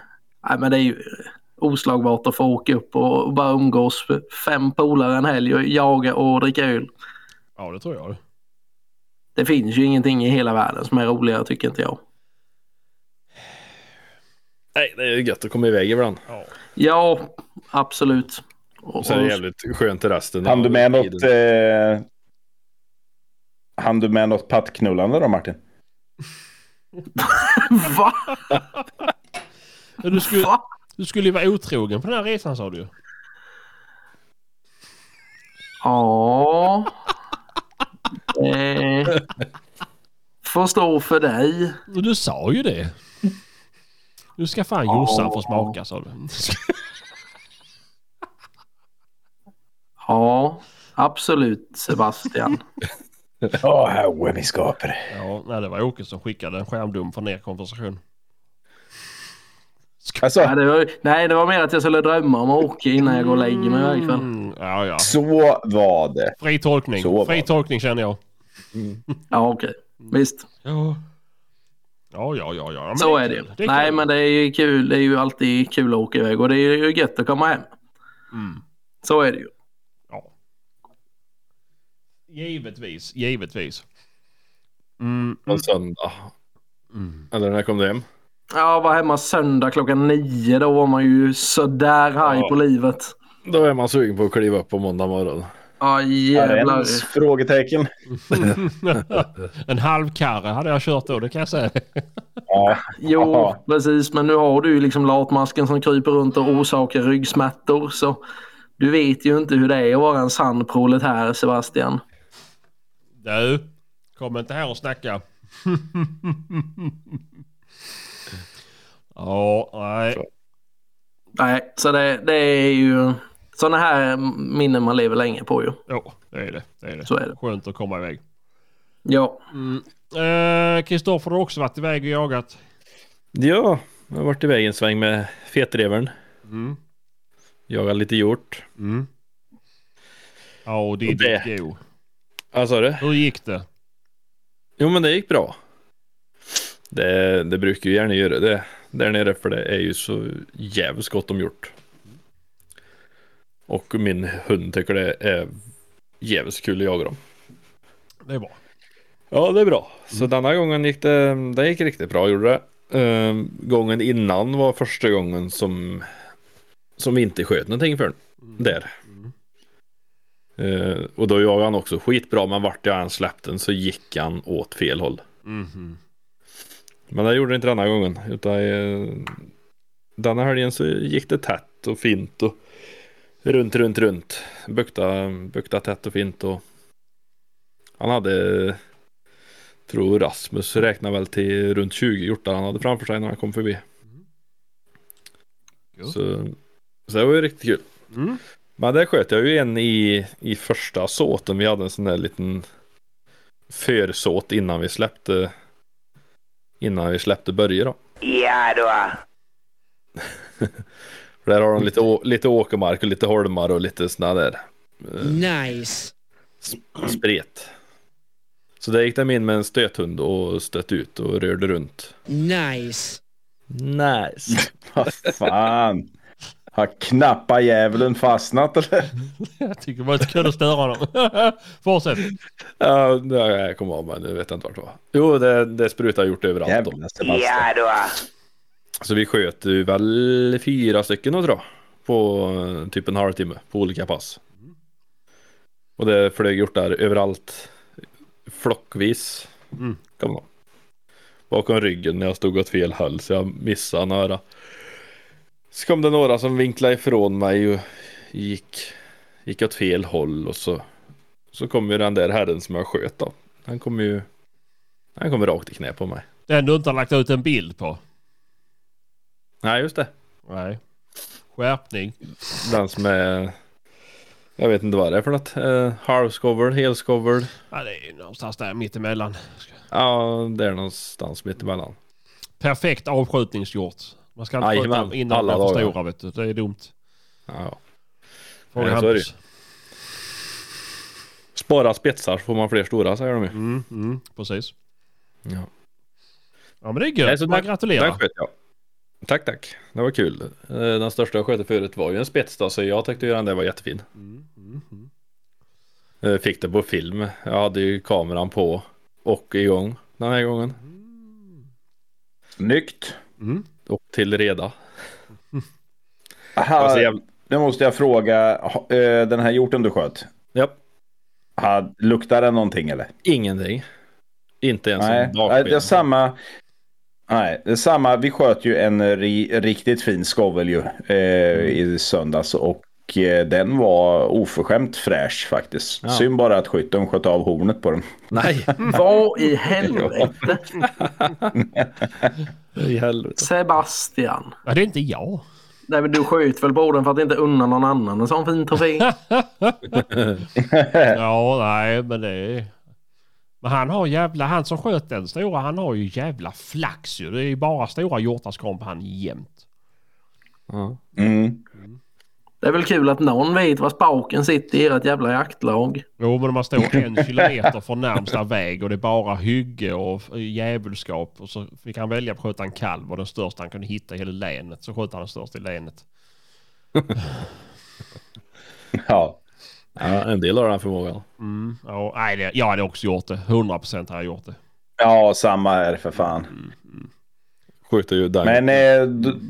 Speaker 2: nej men det är ju eh, oslagbart att få åka upp och och bara umgås fem polare en helg och jaga och dricka öl.
Speaker 1: Ja det tror jag.
Speaker 2: Det finns ju ingenting i hela världen som är roligare tycker inte jag.
Speaker 5: Nej, det är ju gött att komma iväg ibland.
Speaker 2: Ja, absolut. Och,
Speaker 5: Och sen är det jävligt skönt i resten.
Speaker 3: Han du
Speaker 5: av
Speaker 3: med något...
Speaker 5: tiden.
Speaker 3: Eh... Han du med något pattknullande då Martin?
Speaker 2: va?
Speaker 1: Men Du skulle,
Speaker 2: Va?
Speaker 1: du skulle ju vara otrogen på den här resan sa du ju.
Speaker 2: Ja. Eh, får stå för dig.
Speaker 1: Och Du sa ju det. Nu ska fan Jossan få smaka sa du.
Speaker 2: Ja, absolut Sebastian.
Speaker 3: Ja, herre min skapare.
Speaker 1: Ja, nej, det var Åke som skickade en skärmdump från er konversation.
Speaker 3: Alltså,
Speaker 2: Nej det, var, nej, det var mer att jag skulle drömma om att åka innan jag går och lägger mig varje kväll.
Speaker 1: Mm, ja, ja.
Speaker 3: så var det.
Speaker 1: Fri tolkning.
Speaker 3: Så var
Speaker 1: Fri
Speaker 3: det.
Speaker 1: tolkning känner jag.
Speaker 2: Ja, okej. Visst,
Speaker 1: Ja. Ja, ja, ja, ja. Men
Speaker 2: så är det ju.
Speaker 1: kul. är
Speaker 2: Nej,
Speaker 1: kul.
Speaker 2: men det är ju kul. Det är ju alltid kul att åka iväg och det är ju gött att komma hem.
Speaker 1: Mm.
Speaker 2: Så är det ju.
Speaker 1: Ja. Givetvis, givetvis. Mm,
Speaker 5: På en söndag.
Speaker 1: mm.
Speaker 5: Eller när kom du hem?
Speaker 2: Ja, var hemma söndag klockan nio. Då var man ju sådär haj
Speaker 5: Ja.
Speaker 2: på livet.
Speaker 5: Då är man sugen på att kliva upp på måndag morgon.
Speaker 2: Ja,
Speaker 3: Är det
Speaker 2: jävlar.
Speaker 3: ens frågetecken?
Speaker 1: Mm. en halv karre hade jag kört då, det kan jag säga.
Speaker 3: Ja.
Speaker 2: Jo,
Speaker 3: Ja.
Speaker 2: precis. Men nu har du ju liksom latmasken som kryper runt och orsakar ryggsmärtor. Så du vet ju inte hur det är att vara en sann proletär, Sebastian.
Speaker 1: Du, kom inte här och snacka. Ja, nej.
Speaker 2: Nej, så det, det är ju sådana här minnen man lever länge på ju.
Speaker 1: Jo, det är det. det, är det.
Speaker 2: Så är det.
Speaker 1: Skönt att komma iväg. Mm.
Speaker 2: Ja,
Speaker 1: Eh, Kristoffer har också varit iväg och jagat.
Speaker 5: Ja, jag har varit iväg en sväng med fetrevern.
Speaker 1: Mm.
Speaker 5: Jagat lite hjort.
Speaker 1: Mm. Ja, och det
Speaker 5: Och det-
Speaker 1: gick ju.
Speaker 5: Vad sa du?
Speaker 1: Hur gick det?
Speaker 5: Jo, men det gick bra. Det, det brukar ju gärna göra det där nere för det är ju så jävligt gott om hjort. Och min hund tycker det är jävligt kul att jaga dem.
Speaker 1: Det är bra.
Speaker 5: Ja, det är bra. Så denna gången gick det, det gick riktigt bra, gjorde det. Ehm, gången innan var första gången som, som vi inte sköt någonting för den. Där. Ehm, och då jagade han också skitbra, men vart jag än släppte den så gick han åt fel håll.
Speaker 1: Mhm.
Speaker 5: Men det gjorde det inte denna gången. Utan eh, denna helgen så gick det tätt och fint och runt, runt, runt. Bukta, bukta tätt och fint och han hade, tror Rasmus räknar väl till runt 20 hjortar han hade framför sig när han kom förbi.
Speaker 1: Jo.
Speaker 5: Så, så det var ju riktigt kul.
Speaker 1: Mm.
Speaker 5: Men där sköt jag ju en i, i första såten. Vi hade en sån där liten försåt innan vi släppte innan vi släppte Börje då.
Speaker 6: Ja då.
Speaker 5: För där har de lite, å- lite åkermark och lite holmar och lite sådana där
Speaker 4: Nice.
Speaker 5: spret. Så där gick de in med en stöthund och stötte ut och rörde runt.
Speaker 4: Nice.
Speaker 5: Nice.
Speaker 3: Vad fan. Har knappa djävulen fastnat eller?
Speaker 1: Jag tycker det var lite kul att störa honom. Fortsätt.
Speaker 5: Ja, nej, jag kommer av mig nu, vet jag inte vart det var. Jo, det, det sprutar gjort överallt då.
Speaker 3: Jävla Sebastian.
Speaker 5: Så vi sköt ju väl fyra stycken då tror jag. På eh, typ en halvtimme på olika pass. Och det flög hjortar överallt. Flockvis.
Speaker 1: Mm.
Speaker 5: Kom då. Bakom ryggen när jag stod åt fel håll så jag missade några. Så kom det några som vinklade ifrån mig och gick, gick åt fel håll och så, så kom ju den där herren som jag sköt då. Han kom ju, han kom rakt i knä på mig.
Speaker 1: Den du inte har lagt ut en bild på.
Speaker 5: Nej just det.
Speaker 1: Nej. Skärpning.
Speaker 5: Den som är... Jag vet inte vad det är för något. Eh, Halvskovel, helskovel.
Speaker 1: Ja, det är någonstans där mittemellan.
Speaker 5: Ja, det är någonstans mittemellan.
Speaker 1: Perfekt avskjutningsgjort. Man ska inte skjuta
Speaker 5: Jajamän,
Speaker 1: dem innan
Speaker 5: alla
Speaker 1: de är för
Speaker 5: dagar.
Speaker 1: stora vet du. Det är dumt.
Speaker 5: Ja.
Speaker 1: Fråga
Speaker 5: Nej, så är det
Speaker 1: Hampus.
Speaker 5: Spara spetsar så får man fler stora säger de ju.
Speaker 1: Mm, mm, precis.
Speaker 5: Ja.
Speaker 1: Ja men det är
Speaker 5: Nej,
Speaker 1: gött.
Speaker 5: så
Speaker 1: Man
Speaker 5: den- Den
Speaker 1: gratulerar.
Speaker 5: sköt jag. Tack tack. Det var kul. Eh, Den största jag sköt förut var ju en spets då, så jag tyckte ju den där var jättefin.
Speaker 1: Mm, mm, mm.
Speaker 5: Eh, Fick det på film. Jag hade ju kameran på och igång den här gången.
Speaker 3: Snyggt.
Speaker 1: Mm.
Speaker 5: Och till reda.
Speaker 3: Aha,
Speaker 5: Alltså, jag...
Speaker 3: Nu måste jag fråga, ha- eh, den här hjorten du sköt,
Speaker 5: ja.
Speaker 3: ha- luktar den någonting eller?
Speaker 5: Ingenting. Inte ens
Speaker 3: Nej,
Speaker 5: en
Speaker 3: nej, det är
Speaker 5: bakben.
Speaker 3: samma. Nej, det är samma. Vi sköt ju en ri, riktigt fin skovel ju
Speaker 5: Mm.
Speaker 3: eh, i söndags och eh, den var oförskämt fräsch faktiskt.
Speaker 5: Ja.
Speaker 3: Synd bara att skytten sköt av hornet på den.
Speaker 5: Nej.
Speaker 2: Vad i helvete?
Speaker 5: I helvete.
Speaker 2: Sebastian.
Speaker 1: Ja, det är inte jag.
Speaker 2: Nej men du sköt väl på den för att inte unna någon annan en sån fin trofé?
Speaker 1: Ja nej men det är... Men han har jävla, han som sköt den stora han har ju jävla flax ju. Det är ju bara stora hjortar som kommer på han jämt.
Speaker 5: Ja.
Speaker 3: Mm.
Speaker 2: Det är väl kul att någon vet var spaken sitter i ert jävla jaktlag.
Speaker 1: Jo men om man står en kilometer från närmsta väg och det är bara hygge och f- djävulskap. Och så fick han välja att skjuta en kalv och den största han kunde hitta i hela länet. Så sköt han den största i länet.
Speaker 3: Ja.
Speaker 5: Ja, en del har den förmågan.
Speaker 1: Mm, ja, nej, det, jag hade också gjort det. 100% hade jag gjort det.
Speaker 3: ja, samma är det för fan.
Speaker 5: Mm. Skjuter ju den.
Speaker 3: Men eh, d-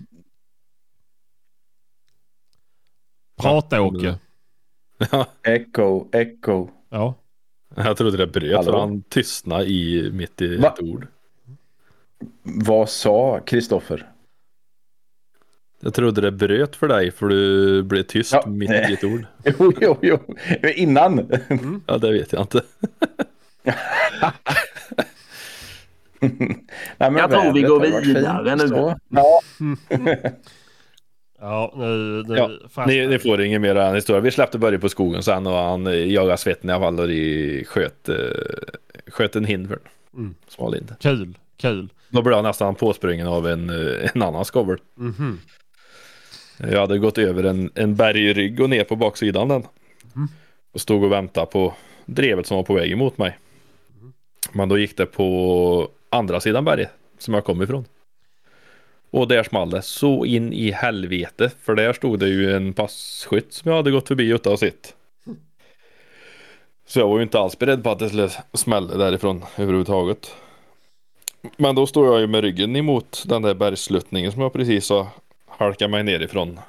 Speaker 1: Prata Åke.
Speaker 5: Ja,
Speaker 3: echo, echo.
Speaker 1: Ja.
Speaker 5: jag trodde det bröt
Speaker 3: Hallå?
Speaker 5: för han tystnade i, mitt i
Speaker 3: Va?
Speaker 5: ett ord.
Speaker 3: Vad sa Kristoffer?
Speaker 5: Jag trodde det bröt för dig för du blev tyst
Speaker 3: Ja.
Speaker 5: mitt i ett ord.
Speaker 3: Jo, jo, jo. Innan.
Speaker 5: Ja, det vet jag inte.
Speaker 3: Nej, men
Speaker 2: Jag tror vi
Speaker 3: vädret
Speaker 2: går
Speaker 3: har varit fint,
Speaker 2: vidare nu.
Speaker 3: så. Ja,
Speaker 1: Ja, nu... nu
Speaker 5: Ja,
Speaker 1: fast-
Speaker 5: Ni, ni får inget mer av den historien. Vi släppte Börje på skogen sen och han eh, jagade svetten i alla fall och i- sköt, eh, sköt en hindvern.
Speaker 1: Mm.
Speaker 5: Smal hinder.
Speaker 1: Kul, kul.
Speaker 5: Då blev jag nästan påsprungen av en, eh, en annan skovel.
Speaker 1: Mhm.
Speaker 5: Jag hade gått över en, en bergrygg och ner på baksidan den. Och stod och väntade på drevet som var på väg emot mig. Men då gick det på andra sidan berget som jag kom ifrån. Och där small det så in i helvete. För där stod det ju en passkytt som jag hade gått förbi utan att sett. Så jag var ju inte alls beredd på att det skulle smälla därifrån överhuvudtaget. Men då står jag ju med ryggen emot den där bergssluttningen som jag precis har halkar mig nerifrån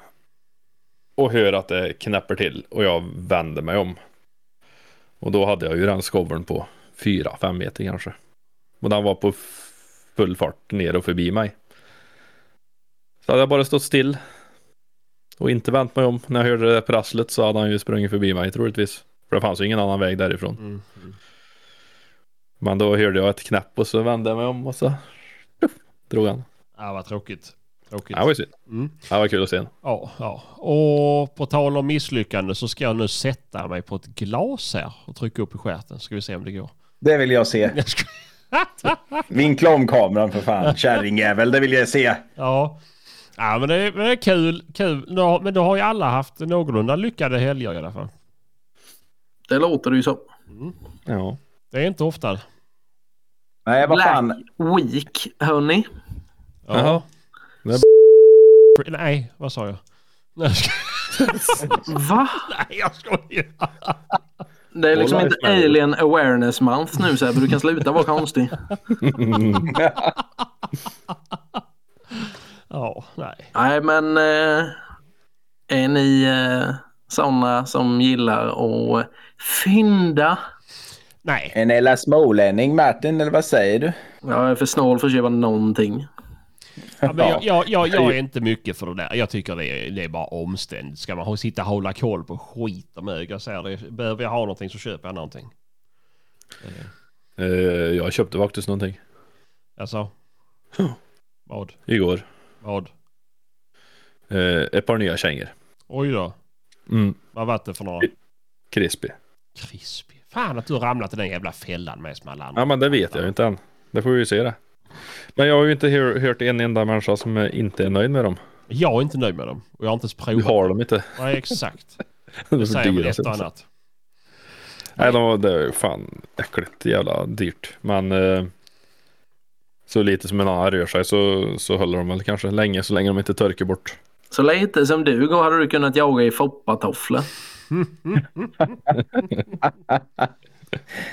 Speaker 5: och hör att det knäpper till och jag vänder mig om. Och då hade jag ju den skoveln på 4-5 meter kanske. Och den var på f- full fart ner och förbi mig. Så hade jag bara stått still och inte vänt mig om när jag hörde det där prasslet så hade han ju sprungit förbi mig troligtvis. För det fanns ju ingen annan väg därifrån.
Speaker 1: Mm.
Speaker 5: Men då hörde jag ett knäpp och så vände jag mig om och så drog han.
Speaker 1: Ja, vad tråkigt. Tråkigt.
Speaker 5: Det var ju synd.
Speaker 1: Mm.
Speaker 5: Det var kul att se. den.
Speaker 1: Ja, ja. Och på tal om misslyckande så ska jag nu sätta mig på ett glas här och trycka upp i stjärten. Ska vi se om det går.
Speaker 3: det vill jag se.
Speaker 1: Jag skojar.
Speaker 3: Vinkla om kameran för fan. Kärringjävel, det vill jag se.
Speaker 1: Ja. Ja men det är, men det är kul, kul. Nå- Men då har ju alla haft någorlunda lyckade helger i alla fall.
Speaker 2: Det låter det ju som.
Speaker 5: Ja.
Speaker 1: Det är inte ofta.
Speaker 3: Nej, vad
Speaker 2: Black
Speaker 3: fan.
Speaker 2: Week, hörni.
Speaker 1: Ja. Nej, vad sa jag? Nej, jag skojar.
Speaker 2: Va?
Speaker 1: Nej, jag skojar.
Speaker 2: Det är liksom
Speaker 5: Life
Speaker 2: inte
Speaker 5: Matter.
Speaker 2: alien awareness month nu Sebbe. Du kan sluta vara konstig.
Speaker 1: Ja, nej.
Speaker 2: Nej men eh, är ni eh, sådana som gillar att eh, fynda?
Speaker 1: Nej.
Speaker 3: En Ella Smålänning, Martin, eller vad säger du?
Speaker 2: Jag är för snål för att köpa någonting.
Speaker 1: Ja, men jag, jag, jag, jag är inte mycket för det där. Jag tycker det är, det är bara omständigt. Ska man ha- sitta och hålla koll på skit och mög? Jag säger det. Behöver jag ha någonting så köper jag någonting.
Speaker 5: Eh, jag köpte faktiskt någonting
Speaker 1: Alltså. Vad?
Speaker 5: igår.
Speaker 1: Vad?
Speaker 5: Eh, ett par nya kängor.
Speaker 1: Oj då.
Speaker 5: Mm.
Speaker 1: Vad var det för några?
Speaker 5: Crispy.
Speaker 1: Krispy. Fan att du har ramlat i den jävla fällan med som alla andra.
Speaker 5: Ja men det vet jag ju inte än. Det får vi ju se det. Men jag har ju inte hör, hört en enda människa som eh, inte är nöjd med dem.
Speaker 1: Jag är inte nöjd med dem. Och jag har inte ens
Speaker 5: Du
Speaker 1: provat.
Speaker 5: har dem inte.
Speaker 1: Nej, exakt. Det
Speaker 5: Det är för alltså.
Speaker 1: säger väl
Speaker 5: dyra.
Speaker 1: ett och
Speaker 5: sen.
Speaker 1: annat.
Speaker 5: Nej de var, det är ju fan äckligt jävla dyrt. Men eh, så lite som en annan rör sig så, så håller de väl kanske länge så länge de inte törker bort.
Speaker 2: Så lite som du går hade du kunnat jaga i foppatofflor.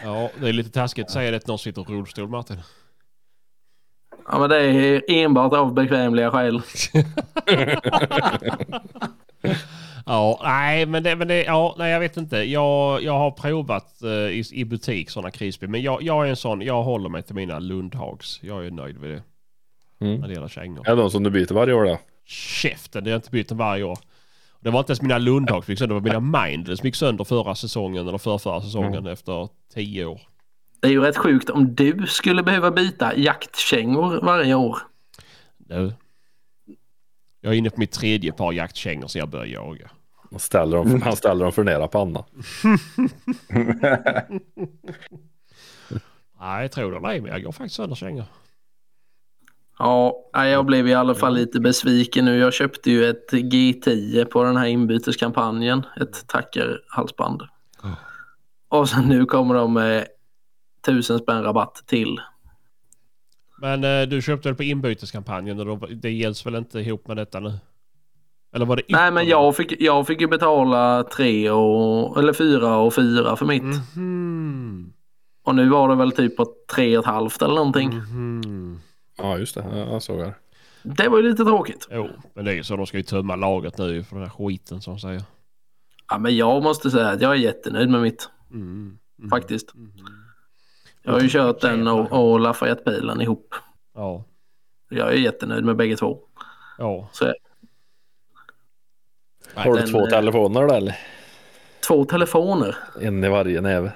Speaker 1: Ja, det är lite taskigt att säga det till någon som sitter i rullstol, Martin.
Speaker 2: Ja men det är enbart av bekvämliga skäl.
Speaker 1: Ja, nej, men det, men det ja, nej, jag vet inte. Jag, jag har provat eh, i, i butik sådana krispig, men jag, jag är en sån, jag håller mig till mina Lundhags. Jag är nöjd med det.
Speaker 5: Mm.
Speaker 1: När det gäller kängor.
Speaker 5: Är det de som du byter varje år då?
Speaker 1: Käften, det har jag inte bytt den varje år. Det var inte ens mina Lundhags som gick sönder, det var mina Mindles som gick sönder förra säsongen eller förra, säsongen
Speaker 5: Mm.
Speaker 1: efter tio år.
Speaker 2: Det är ju rätt sjukt om du skulle behöva byta jaktkängor varje år.
Speaker 1: Nu. Jag är inne på mitt tredje par jaktkängor som jag börjar jaga.
Speaker 5: Han ställer dem, han ställer dem för nära pannan.
Speaker 1: Nej, tror du nej, men jag går faktiskt sönder kängor.
Speaker 2: Ja, nej, jag blev i alla fall lite besviken nu. Jag köpte ju ett G10 på den här inbyteskampanjen. Ett tackerhalsband. Och sen nu kommer de med tusen spänn rabatt till.
Speaker 1: Men eh, du köpte väl på inbyteskampanjen och då, det gälls väl inte ihop med detta nu? Eller var det
Speaker 2: Nej, men jag fick, jag fick ju betala tre och, eller fyra och fyra för
Speaker 1: Mm.
Speaker 2: mitt.
Speaker 1: Mhm.
Speaker 2: Och nu var det väl typ på tre och ett halvt eller någonting.
Speaker 1: Mhm.
Speaker 5: Ja just det, Ja, jag såg det.
Speaker 2: Det var ju lite tråkigt.
Speaker 1: Jo, men det är ju så. De ska ju tömma lagret nu för den här skiten som de säger.
Speaker 2: Ja, men jag måste säga att jag är jättenöjd med mitt
Speaker 1: Mm. Mhm.
Speaker 2: faktiskt.
Speaker 1: Mhm.
Speaker 2: Jag har ju kört den och, och Lafayette-bilen ihop.
Speaker 1: Ja.
Speaker 2: Jag är jättenöjd med bägge två.
Speaker 1: Ja.
Speaker 2: Så
Speaker 5: Har du
Speaker 2: den,
Speaker 5: två
Speaker 2: eh,
Speaker 5: telefoner då eller?
Speaker 2: två telefoner.
Speaker 5: En i varje näve.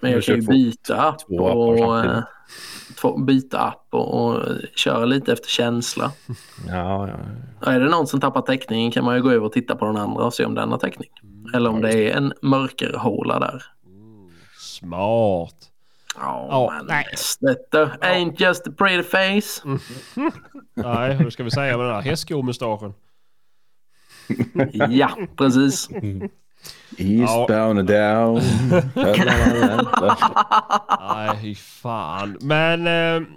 Speaker 2: Men jag
Speaker 5: Du
Speaker 2: kan
Speaker 5: kör
Speaker 2: ju
Speaker 5: två-
Speaker 2: byta app
Speaker 5: två appar
Speaker 2: och,
Speaker 5: samtidigt.
Speaker 2: eh, två, byta app och, och köra lite efter känsla.
Speaker 5: Ja, ja.
Speaker 2: Och är det någon som tappar täckningen kan man ju gå över och titta på den andra och se om den har täckning.
Speaker 5: Mm,
Speaker 2: Eller om det är en mörkerhåla där.
Speaker 1: Smart.
Speaker 2: Ja,
Speaker 1: Ja,
Speaker 2: men
Speaker 1: nej.
Speaker 2: detta ain't just a pretty face.
Speaker 5: Mm.
Speaker 1: Nej, hur ska vi säga med den här hästskomustaschen?
Speaker 2: Ja, precis.
Speaker 3: Eastbound and down.
Speaker 1: Nej, fy fan. Men eh,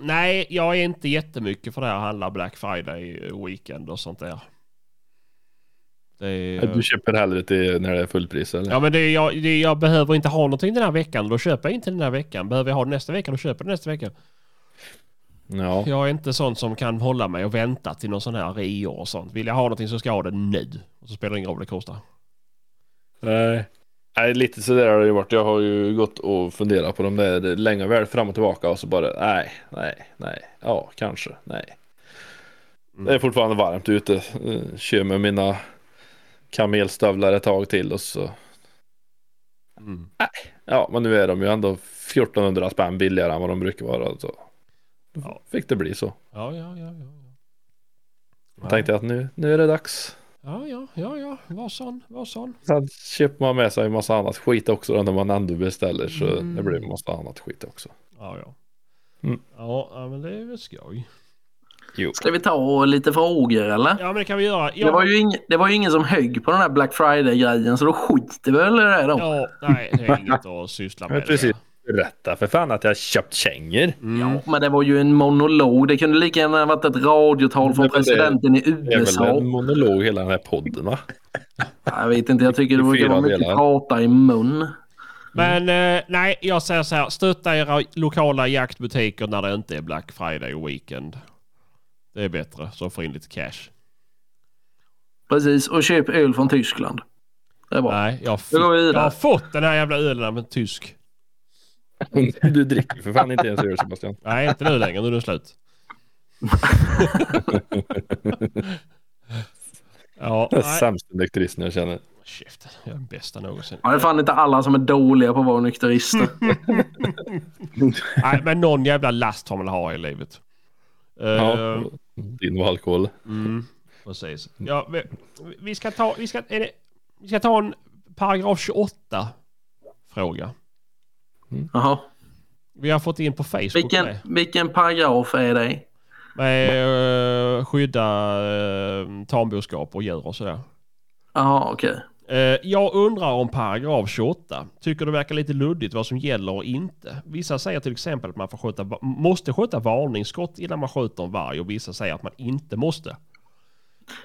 Speaker 1: nej, jag är inte jättemycket för det här att handla Black Friday weekend och sånt där. Det är,
Speaker 5: Du köper hellre till när det är fullpris eller?
Speaker 1: ja, men det är, jag, det är, jag behöver inte ha någonting den här veckan. Då köper jag inte den här veckan. Behöver jag ha det nästa vecka, då köper jag det nästa vecka.
Speaker 5: Ja.
Speaker 1: Jag är inte sån som kan hålla mig och vänta till någon sån här reor och sånt. Vill jag ha någonting så ska jag ha det nu. Och så spelar det ingen roll vad det kostar.
Speaker 5: Nej. Nej, lite sådär har det ju varit. Jag har ju gått och funderat på dem där länge och väl fram och tillbaka och så bara nej, nej, nej, ja, kanske, nej. Det är fortfarande varmt ute. Eh, Kör med mina kamelstövlar ett tag till och så.
Speaker 1: Mm.
Speaker 5: Nej, ja, men nu är de ju ändå 1400 spänn billigare än vad de brukar vara. Så. Då
Speaker 1: Ja.
Speaker 5: fick det bli så.
Speaker 1: Ja, ja, ja, ja.
Speaker 5: Jag tänkte att nu, nu är det dags.
Speaker 1: Ja, ja, ja, ja. Var sån, var sån.
Speaker 5: Sen köper man med sig en massa annat skit också då när man ändå beställer så det blir en massa annat skit också.
Speaker 1: Ja, ja.
Speaker 5: Mm.
Speaker 1: Ja, ja, men det är väl skoj.
Speaker 5: Jo.
Speaker 2: Ska vi ta lite frågor eller?
Speaker 1: Ja, men det kan vi göra. Ja,
Speaker 2: Det var, ju ing- det var ju ingen som högg på den här Black Friday-grejen så då skiter vi väl i det då.
Speaker 1: ja nej, det är inget att syssla med.
Speaker 5: Ja, precis. Berätta för fan att jag köpt kängor.
Speaker 1: Mm.
Speaker 2: Men det var ju en monolog. Det kunde lika gärna varit ett radiotal
Speaker 5: Men
Speaker 2: från
Speaker 5: det-
Speaker 2: presidenten i
Speaker 5: Det är väl
Speaker 2: USA.
Speaker 5: en monolog hela den här podden va?
Speaker 2: Jag vet inte, jag tycker det brukar
Speaker 5: 94
Speaker 2: vara mycket
Speaker 5: delar.
Speaker 2: prata i mun.
Speaker 1: Men eh, nej, jag säger så här. Stötta era lokala jaktbutiker när det inte är Black Friday och weekend. Det är bättre, så får in lite cash.
Speaker 2: Precis, och köp öl från Tyskland. Det är bra.
Speaker 1: Nej, jag har,
Speaker 2: Då går vi
Speaker 1: jag
Speaker 2: vidare.
Speaker 1: har fått den här jävla ölen av en tysk.
Speaker 5: Du dricker för fan inte ens öl Sebastian.
Speaker 1: Nej, inte nu längre. Nu är den slut. ja,
Speaker 5: Den
Speaker 1: nej.
Speaker 5: sämsta nykteristen jag känner.
Speaker 1: Käften, jag är den bästa någonsin.
Speaker 2: Ja, det är fan inte alla som är dåliga på att vara nykterister.
Speaker 1: Nej, men någon jävla last har man ha i livet. Eh,
Speaker 5: Ja. Din och alkohol.
Speaker 1: mm, precis. Ja, vi, vi ska ta, vi ska, är det, vi ska ta en paragraf 28 fråga.
Speaker 2: Jaha.
Speaker 1: Vi har fått in på Facebook
Speaker 2: Vilken,
Speaker 1: med,
Speaker 2: vilken paragraf är det?
Speaker 1: med eh, skydda uh, tamboskap och djur och sådär.
Speaker 2: Jaha, okej.
Speaker 1: Eh, Jag undrar om paragraf 28. Tycker det verkar lite luddigt vad som gäller och inte. Vissa säger till exempel att man får skjuta, va- måste skjuta varningsskott innan man skjuter en varg och vissa säger att man inte måste.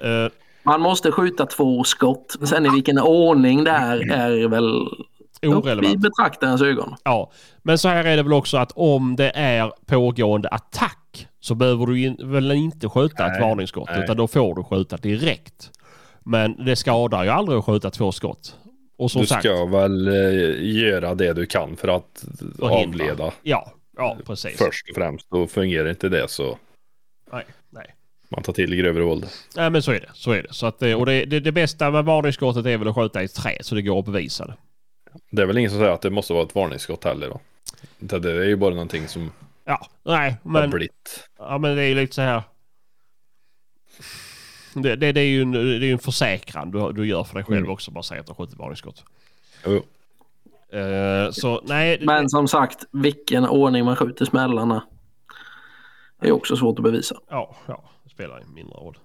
Speaker 1: Eh,
Speaker 2: Man måste skjuta två skott. Sen i vilken ordning det är, är väl upp i
Speaker 1: Mm. Orelevant.
Speaker 2: betraktarens ögon.
Speaker 1: Ja, men så här är det väl också att om det är pågående attack så behöver du in, väl inte skjuta ett varningsskott
Speaker 5: nej.
Speaker 1: utan då får du skjuta direkt. Men det skadar ju aldrig att skjuta två skott. Och som
Speaker 5: Du
Speaker 1: sagt,
Speaker 5: ska väl eh, göra det du kan för att
Speaker 1: förhindra.
Speaker 5: avleda
Speaker 1: Ja, ja precis.
Speaker 5: först och främst. Och fungerar inte det så
Speaker 1: Nej, nej.
Speaker 5: man tar till grövre våld.
Speaker 1: Nej men så är det. Så är det. Så att, det- och det, det, det bästa med varningsskottet är väl att skjuta i ett träd så det går att bevisa det.
Speaker 5: Det är väl ingen som säger att det måste vara ett varningsskott heller då. Det det är ju bara någonting som
Speaker 1: Ja, nej
Speaker 5: har
Speaker 1: men,
Speaker 5: blivit.
Speaker 1: ja, men det är ju lite så här. Det, det, det är ju en, det är ju en försäkran du, du gör för dig själv
Speaker 5: Mm.
Speaker 1: också. Bara säga att du har skjutit varningsskott.
Speaker 5: Jo, jo.
Speaker 1: Eh, så nej. det-
Speaker 2: Men som sagt, vilken ordning man skjuter smällarna är också svårt att bevisa.
Speaker 1: Ja, ja, det spelar ju mindre roll.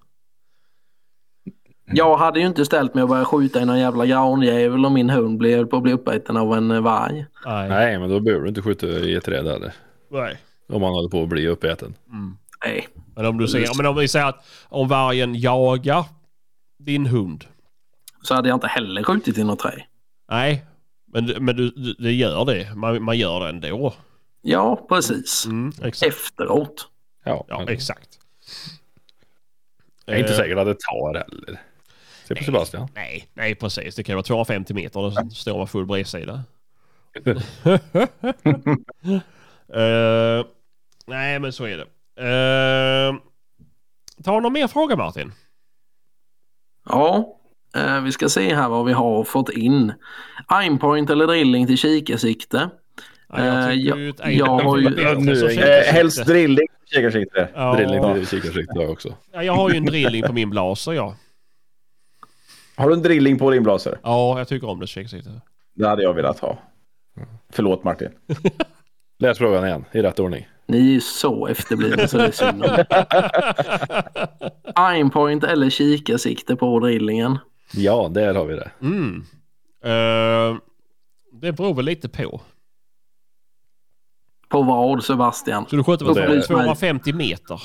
Speaker 2: Jag hade ju inte ställt mig och börjat skjuta i någon jävla granjävel om min hund blev på att bli uppäten av en eh, varg.
Speaker 1: Nej. nej.
Speaker 5: Nej, men då behöver du inte skjuta i ett träd heller. Om man håller på att bli uppäten.
Speaker 2: Nej.
Speaker 1: Men om du säger, men om vi säger att om vargen jagar din hund.
Speaker 2: Så hade jag inte heller skjutit i något träd.
Speaker 1: Nej, men, du- men du, du, det gör det. Man, man gör det ändå.
Speaker 2: Ja, precis.
Speaker 1: Mm, exakt.
Speaker 2: Efteråt.
Speaker 5: Ja,
Speaker 1: Ja,
Speaker 5: men
Speaker 1: exakt.
Speaker 5: jag är inte
Speaker 1: Eh,
Speaker 5: säker att det tar heller. Se på Sebastian.
Speaker 1: Nej, nej precis. Det kan ju vara 250 meter och så står man full bredsida. Eh, nej, men så är det. Eh, ta någon mer fråga Martin.
Speaker 2: Ja. Eh, vi ska se här vad vi har fått in. Aimpoint eller drilling till kikarsikte.
Speaker 1: Ja, jag
Speaker 2: Eh,
Speaker 1: tycker
Speaker 2: jag-
Speaker 1: ju att
Speaker 2: jag har ju-
Speaker 1: bättre
Speaker 5: Nu är
Speaker 1: som
Speaker 5: jag-
Speaker 1: kikarsikte.
Speaker 3: Eh, helst drilling, kikarsikte.
Speaker 1: Ja,
Speaker 5: Drilling till kikarsikte har jag också.
Speaker 1: ja, jag har ju en drilling på min blaser ja.
Speaker 3: Har du en drilling på din blaser?
Speaker 1: Ja, jag tycker om det kikarsikte.
Speaker 3: Det hade jag velat ha. Förlåt Martin.
Speaker 5: Läs frågan igen i rätt ordning.
Speaker 2: Ni är ju så efterblivna så det är synd om er. Aimpoint eller kikarsikte på drillingen.
Speaker 5: Ja, där har vi det.
Speaker 1: Mm. Eh, det beror väl lite på.
Speaker 2: På vad Sebastian?
Speaker 1: Så du skjuter väl
Speaker 5: Det-
Speaker 1: 250 meter?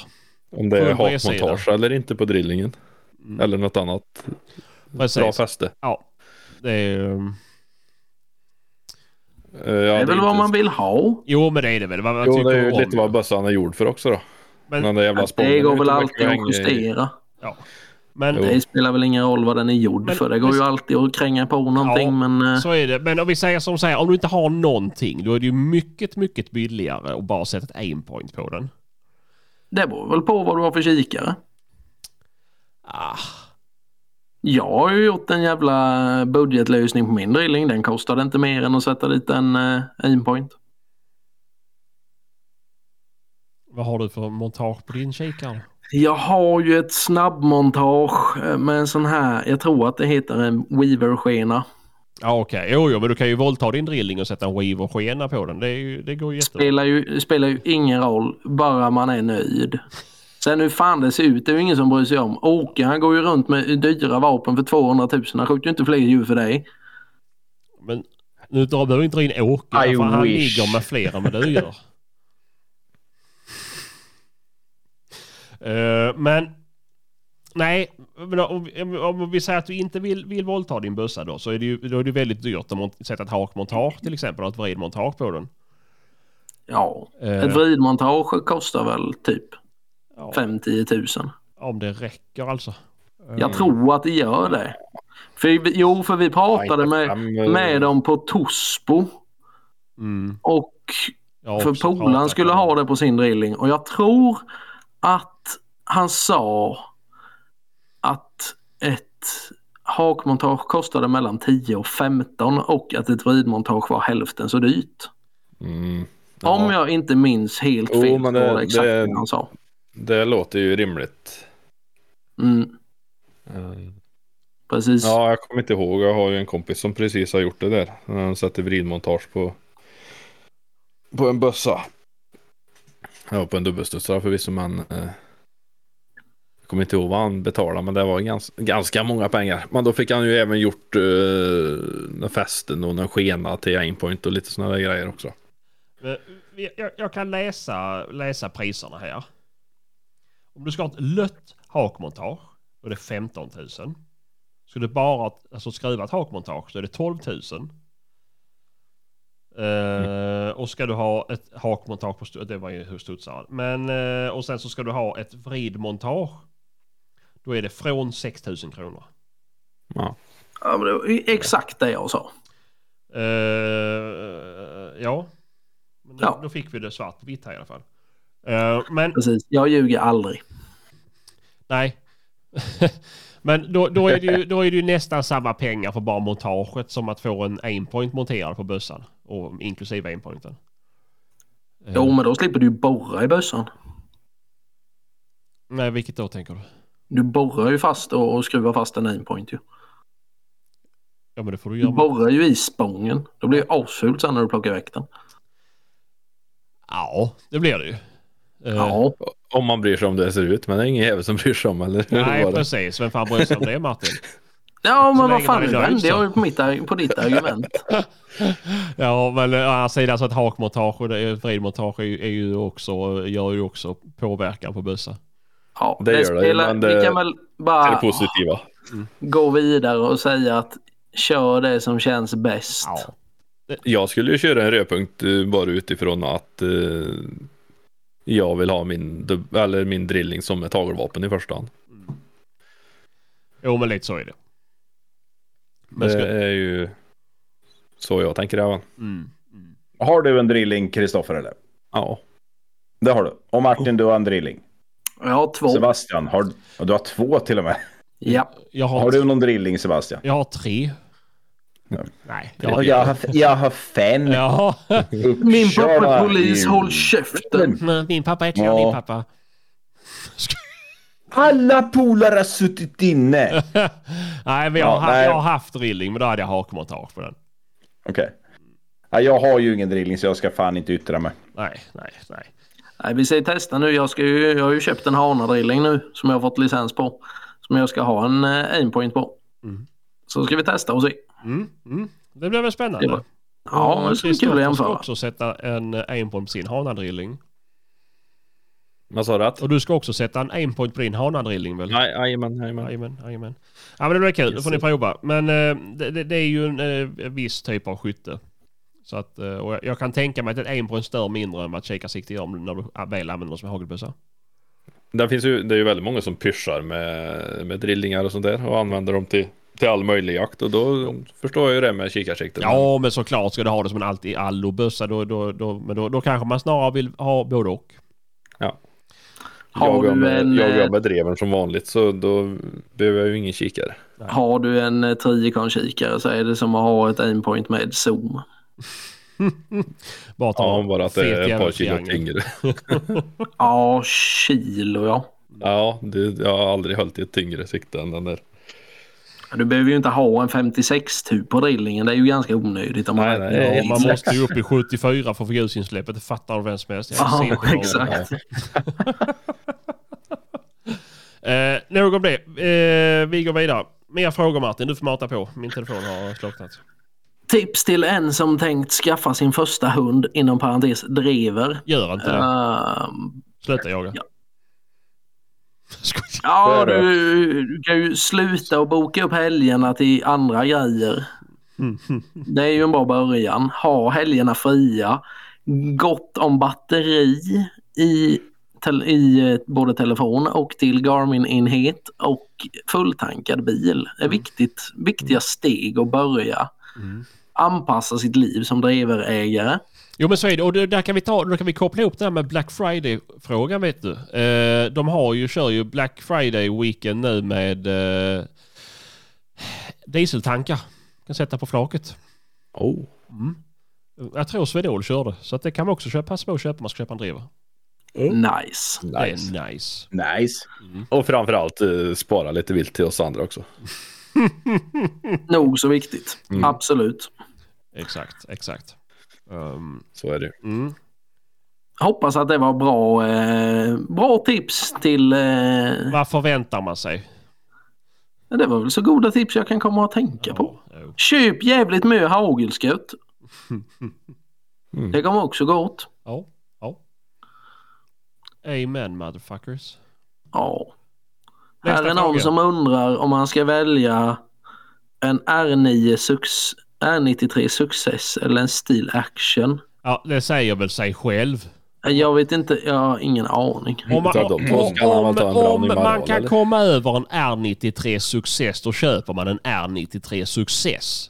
Speaker 5: Om det
Speaker 1: Får
Speaker 5: är
Speaker 1: den på er sida?
Speaker 5: hakmontage eller inte på drillingen. Eller något annat bra
Speaker 1: Precis.
Speaker 5: fäste.
Speaker 1: Ja. Det är, ehm,
Speaker 5: Eh, ja,
Speaker 2: det är väl vad man vill ha.
Speaker 1: jo men det är det väl. Vad man
Speaker 5: Jo,
Speaker 1: tycker
Speaker 5: det är ju
Speaker 1: om.
Speaker 5: lite vad bössan är gjord för också då.
Speaker 1: Men-
Speaker 5: Men, den där jävla
Speaker 2: Det
Speaker 5: spången
Speaker 2: går
Speaker 5: vet
Speaker 2: väl
Speaker 5: du hur
Speaker 2: alltid
Speaker 5: mycket
Speaker 2: att
Speaker 5: jag hänger i.
Speaker 2: justera.
Speaker 1: Men
Speaker 5: eh, Jo.
Speaker 2: Det spelar väl ingen roll vad den är gjord
Speaker 1: Men-
Speaker 2: för. Det går ju alltid att kränga på någonting
Speaker 1: Ja,
Speaker 2: men... eh,
Speaker 1: så är det. Men om vi säger som säger, om du inte har någonting då är det ju mycket, mycket billigare att bara sätta ett aimpoint på den.
Speaker 2: Det beror väl på vad du har för kikare.
Speaker 1: Ah,
Speaker 2: Jag har ju gjort en jävla budgetlösning på min drilling. Den kostade inte mer än att sätta dit en eh, aimpoint.
Speaker 1: vad har du för montage på din kikare?
Speaker 2: Jag har ju ett snabbmontage eh, med en sån här, jag tror att det heter en Weaver-skena.
Speaker 1: Ja okej, jo jo men du kan ju våldta din drilling och sätta en weaver-skena på den. Det, är ju, det går ju jättebra.
Speaker 2: Spelar ju, spelar ju ingen roll, bara man är nöjd. Sen hur fan det ser ut, det är ju ingen som bryr sig om. Åke han går ju runt med dyra vapen för 200 000, han skjuter ju inte fler djur för dig.
Speaker 1: Men Nu drar- behöver vi inte dra in Åke,
Speaker 3: I
Speaker 1: för han
Speaker 3: wish.
Speaker 1: ligger med fler än vad du gör. Eh, men nej, men om, om- om vi säger att du inte vill, vill våldta din bössa då, så är det ju då är det ju väldigt dyrt att mont- sätta ett hakmontage till exempel, och ett vridmontage på den.
Speaker 2: Ja,
Speaker 1: Eh,
Speaker 2: ett vridmontage kostar väl typ
Speaker 1: ja,
Speaker 2: 5-10 000.
Speaker 1: om det räcker alltså.
Speaker 2: Jag tror att det gör det. För, vi- jo, för vi pratade med, med
Speaker 5: dem.
Speaker 2: dem på Tosbo
Speaker 1: Mm,
Speaker 2: och
Speaker 1: jag har
Speaker 2: för
Speaker 1: också
Speaker 2: polaren
Speaker 1: pratat
Speaker 2: skulle
Speaker 1: om
Speaker 2: ha det på sin drilling och jag tror att han sa att ett hakmontage kostade mellan 10 och 15 och att ett vridmontage var hälften så dyrt.
Speaker 5: Mm.
Speaker 2: Om
Speaker 5: Ja,
Speaker 2: jag inte minns helt
Speaker 5: Jo,
Speaker 2: fel
Speaker 5: men
Speaker 2: var
Speaker 5: det-
Speaker 2: det exakt
Speaker 5: det-
Speaker 2: vad han sa.
Speaker 5: Det låter ju rimligt.
Speaker 2: Mm, precis.
Speaker 5: Ja, jag kommer inte ihåg. Jag har ju en kompis som precis har gjort det där. Han sätter vridmontage på, på en bössa. Ja, på en dubbelstudsare förvisso, men eh, jag kommer inte ihåg vad han betalade, men det var gans, ganska många pengar. Men då fick han ju även gjort eh, fästen och en skena till aimpoint och lite sådana där grejer också.
Speaker 1: Eh, vi- Jag, jag kan läsa, läsa priserna här. Om du ska ha ett lött hakmontage, då är det 15 000. Ska du bara ha ett- alltså, skruva ett hakmontage så är det 12 000. Eh, Och ska du ha ett hakmontage på stu- det var ju hur studsaren. Men eh, och sen så ska du ha ett vridmontage. Då är det från 6 000 kronor.
Speaker 2: Ja, men det var ju exakt det jag sa.
Speaker 1: Eh, ja. Men då,
Speaker 2: Ja.
Speaker 1: då fick vi det svart på vitt här i alla fall. Eh, men
Speaker 2: Precis. Jag ljuger aldrig.
Speaker 1: Nej. Men då, då, är det ju, då är det ju nästan samma pengar för bara montaget som att få en aimpoint monterad på bössan. Och inklusive aimpointen. Eh,
Speaker 2: Jo, men då slipper du ju borra i bössan.
Speaker 1: Nej, vilket då tänker du?
Speaker 2: Du borrar ju fast och, och skruvar fast en aimpoint ju.
Speaker 1: Ja, men det får du
Speaker 2: Du
Speaker 1: göra. med-
Speaker 2: borrar ju i spången. Då blir det asfult sen när du plockar iväg den.
Speaker 1: Ja, det blir det ju. Eh,
Speaker 2: Ja,
Speaker 5: Om man bryr sig om det ser ut, men det är ingen jävel som bryr sig om eller hur var
Speaker 1: Nej,
Speaker 5: det?
Speaker 1: precis. Vem fan bryr sig om det, Martin?
Speaker 2: ja
Speaker 1: Så
Speaker 2: men vad
Speaker 1: länge
Speaker 2: fan,
Speaker 1: man är
Speaker 2: nu
Speaker 1: nöjd,
Speaker 2: vände
Speaker 1: så.
Speaker 2: jag ju på, mitt, arg- på ditt argument.
Speaker 1: Ja, men eh, å andra sidan så ett hakmontage och det är- ett vridmontage är ju, är ju också, gör ju också påverkan på bössa.
Speaker 2: Ja,
Speaker 5: Det gör det, men det-
Speaker 2: Vi kan väl
Speaker 5: Är det
Speaker 2: bara
Speaker 5: positiva?
Speaker 2: gå vidare och säga att kör det som känns bäst.
Speaker 1: Ja.
Speaker 5: Jag skulle ju köra en rödpunkt eh, bara utifrån att eh, jag vill ha min, dub- eller min drilling som ett hagelvapen i första hand.
Speaker 1: Jo, men lite så är det. Men
Speaker 5: Det
Speaker 1: ska...
Speaker 5: är ju så jag tänker även.
Speaker 1: Mm. Mm.
Speaker 3: Har du en drilling, Kristoffer, eller?
Speaker 5: Ja.
Speaker 3: Det har du. Och Martin, du har en drilling.
Speaker 2: Jag har två.
Speaker 3: Sebastian, har... ja, du har två till och med.
Speaker 2: Ja.
Speaker 1: Jag har,
Speaker 3: Har du någon drilling, Sebastian?
Speaker 1: Jag har tre. Nej, jag har...
Speaker 3: Jag har, jag har fem.
Speaker 1: Ja.
Speaker 2: Min pappa
Speaker 3: Uppkörda
Speaker 2: är polis,
Speaker 3: i-
Speaker 2: håll
Speaker 5: Mm.
Speaker 2: käften.
Speaker 4: Men Min pappa är klar,
Speaker 3: Ja.
Speaker 4: din pappa.
Speaker 3: Alla polare har suttit inne. Okej.
Speaker 1: nej, men jag,
Speaker 3: Ja,
Speaker 1: har-
Speaker 3: nej.
Speaker 1: jag har haft drilling, men då hade jag hakmontage på den.
Speaker 3: Ja, jag har ju ingen drilling så jag ska fan inte yttra mig.
Speaker 1: Nej, nej, nej.
Speaker 2: Nej, vi säger testa nu. Jag, ska ju, jag har ju köpt en hanadrilling nu som jag har fått licens på. Som jag ska ha en eh, aimpoint på.
Speaker 1: Mm.
Speaker 2: Så ska vi testa och se.
Speaker 1: Mm, mm. Det blev väl spännande.
Speaker 2: Det var- Ja, det skulle kul att
Speaker 1: ska
Speaker 2: jämföra.
Speaker 1: också sätta en aimpoint på sin hanadrilling.
Speaker 5: Vad sa du att?
Speaker 1: Och du ska också sätta en aimpoint på din hanadrilling väl?
Speaker 5: Nej, jajamän, jajamän.
Speaker 1: Jajamän, jajamän. Ja men det blir kul, då får ni prova. Men eh, det, det, det är ju en eh, viss typ av skytte. Så att, eh, och jag, jag kan tänka mig att ett aimpoint stör mindre än vad kikarsikte gör om- när du ah, väl använder dem som hagelbössa.
Speaker 5: Det finns ju, det är ju väldigt många som pyschar med, med drillingar och sånt där och använder dem till, till all möjlig jakt och då förstår jag ju det med kikarsikte.
Speaker 1: Ja men såklart ska du ha det som en allt i allo-bössa då, då, då, men då, då kanske man snarare vill ha både och.
Speaker 5: Jag
Speaker 2: Har
Speaker 5: går
Speaker 2: du en,
Speaker 5: med, jag
Speaker 2: eh,
Speaker 5: går med dreven som vanligt så då behöver jag ju ingen kikare.
Speaker 2: har du en eh, triokonkikare så är det som att ha ett aimpoint med zoom.
Speaker 1: Bara ta
Speaker 5: Ja,
Speaker 1: en
Speaker 5: bara att det
Speaker 1: fet
Speaker 5: är ett
Speaker 1: jävla
Speaker 5: par kilo
Speaker 1: triangel.
Speaker 5: tyngre.
Speaker 2: Ja, kilo ja.
Speaker 5: Ja, det, jag har aldrig hållit i ett tyngre sikte än den där.
Speaker 2: Du behöver ju inte ha en 56 tub på drillingen. Det är ju ganska onödigt om man
Speaker 5: Nej,
Speaker 2: verkligen
Speaker 5: nej,
Speaker 2: har
Speaker 1: Ja,
Speaker 2: en
Speaker 1: man
Speaker 2: slags-
Speaker 1: måste ju upp i 74 för att få ljusinsläppet, det fattar vem som helst. Jag ser
Speaker 2: Ja,
Speaker 1: inte vad-
Speaker 2: exakt.
Speaker 1: Eh, nog om det. Eh, vi går vidare. Mer frågor Martin, du får mata på. Min telefon har slocknat.
Speaker 2: Tips till en som tänkt skaffa sin första hund, inom parentes driver.
Speaker 1: Gör inte det.
Speaker 2: Ehm,
Speaker 1: Sluta jaga.
Speaker 2: ja.
Speaker 1: Skoj.
Speaker 2: Ja,
Speaker 3: Så är det.
Speaker 2: du, du kan ju sluta och boka upp helgerna till andra grejer.
Speaker 1: Mm.
Speaker 2: Det är ju en bra början. Ha helgerna fria. Gott om batteri i, tel- i eh, både telefon och till Garmin-enhet och fulltankad bil. Det är viktigt, viktiga steg att börja.
Speaker 1: Mm.
Speaker 2: Anpassa sitt liv som driverägare.
Speaker 1: Jo men så är det. Och det, där kan vi ta, då kan vi koppla ihop det här med Black Friday-frågan vet du. Eh, de har ju, kör ju Black Friday-weekend nu med eh, dieseltankar. Kan sätta på flaket.
Speaker 5: Oh.
Speaker 1: Jag tror Swedol körde. Så att det kan man också köpa, passa på att köpa om man ska köpa en driva.
Speaker 5: Nice.
Speaker 2: Nice.
Speaker 1: Det är nice.
Speaker 3: Nice.
Speaker 5: Och framförallt eh, spara lite vilt till oss andra också.
Speaker 2: Nog så viktigt. Absolut.
Speaker 1: Exakt, exakt. Ehm,
Speaker 5: Så är det ju.
Speaker 1: mm.
Speaker 2: Hoppas att det var bra, eh, bra tips till eh,
Speaker 1: Vad förväntar man sig?
Speaker 2: Ja, Det var väl så goda tips jag kan komma att tänka på.
Speaker 1: Jo.
Speaker 2: Köp jävligt mycket hagelskott.
Speaker 5: Mm.
Speaker 2: Det kommer också gott.
Speaker 1: Ja, ja. Amen motherfuckers.
Speaker 2: Ja.
Speaker 1: Nästa
Speaker 2: Här är någon
Speaker 1: fråga.
Speaker 2: som undrar om man ska välja en R9 Success, R93 Success eller en Steel Action.
Speaker 1: Ja, det säger väl sig själv.
Speaker 2: Jag vet inte, jag har ingen aning.
Speaker 1: Om man,
Speaker 5: Utav de två
Speaker 1: om,
Speaker 5: ska han väl ta
Speaker 1: om,
Speaker 5: en
Speaker 1: om
Speaker 5: dragning med
Speaker 1: man
Speaker 5: Aral,
Speaker 1: kan
Speaker 5: eller?
Speaker 1: komma över en R93 Success då köper man en R93 Success.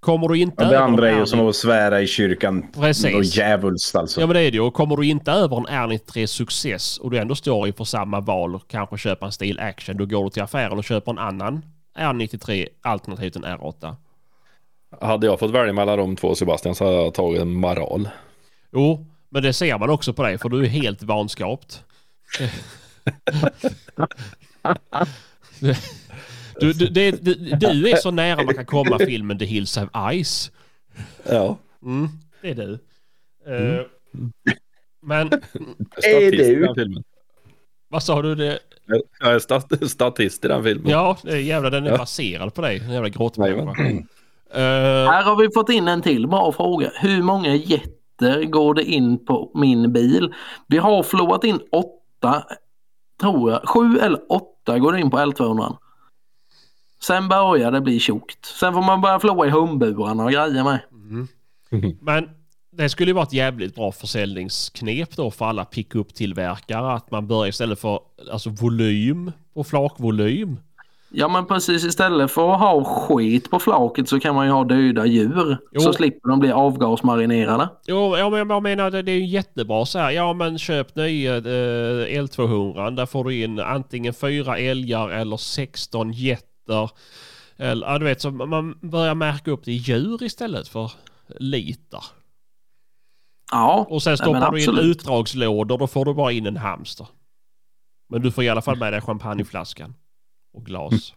Speaker 1: Kommer du inte
Speaker 3: Ja,
Speaker 1: över
Speaker 3: det andra
Speaker 1: en
Speaker 3: är ju
Speaker 1: R90
Speaker 3: som att svära i kyrkan.
Speaker 1: Precis.
Speaker 3: Något djävulskt alltså.
Speaker 1: Ja men det är det ju. Och Kommer du inte över en R93 Success och du ändå står inför samma val och kanske köper en Steel Action då går du till affären och köper en annan R93 alternativt en R8.
Speaker 5: Hade jag fått välja mellan de två Sebastian så hade jag tagit en maral.
Speaker 1: Jo, men det ser man också på dig för du är helt vanskapt. Du, du, det, du, du är så nära man kan komma filmen The Hills Have Eyes.
Speaker 5: Ja.
Speaker 1: Mm, det är du. Eh, men
Speaker 5: Statist
Speaker 3: det
Speaker 5: i
Speaker 3: ju?
Speaker 5: den filmen.
Speaker 1: vad sa du? Det?
Speaker 5: Jag är stat statist i den filmen.
Speaker 1: Ja, det är jävlar den är
Speaker 5: Ja.
Speaker 1: baserad på dig. Den jävla grottmänniska. Eh,
Speaker 2: Här har vi fått in en till bra fråga. Hur många jätter går det in på min bil? Vi har förlorat in åtta, tror jag. Sju eller åtta går det in på L200. Sen börjar det bli tjockt. Sen får man börja förlora i humburarna och grejer med.
Speaker 1: Men det skulle ju vara ett jävligt bra försäljningsknep då för alla pickup-tillverkare att man börjar istället för alltså volym och flakvolym.
Speaker 2: Ja men precis istället för att ha skit på flaket så kan man ju ha döda djur.
Speaker 1: Jo.
Speaker 2: Så slipper de bli avgasmarinerade.
Speaker 1: Jo, ja, men jag menar det, det är ju jättebra så här. Ja, men köp nya eh, L200. Där får du in antingen fyra älgar eller 16 getter. Eller, ja, du vet, så man börjar märka upp det i djur istället för liter.
Speaker 2: Ja,
Speaker 1: Och sen
Speaker 2: nej, men
Speaker 1: stoppar du in
Speaker 2: absolut.
Speaker 1: utdragslådor. Då får du bara in en hamster. Men du får i alla fall med dig champagneflaskan. Och glas.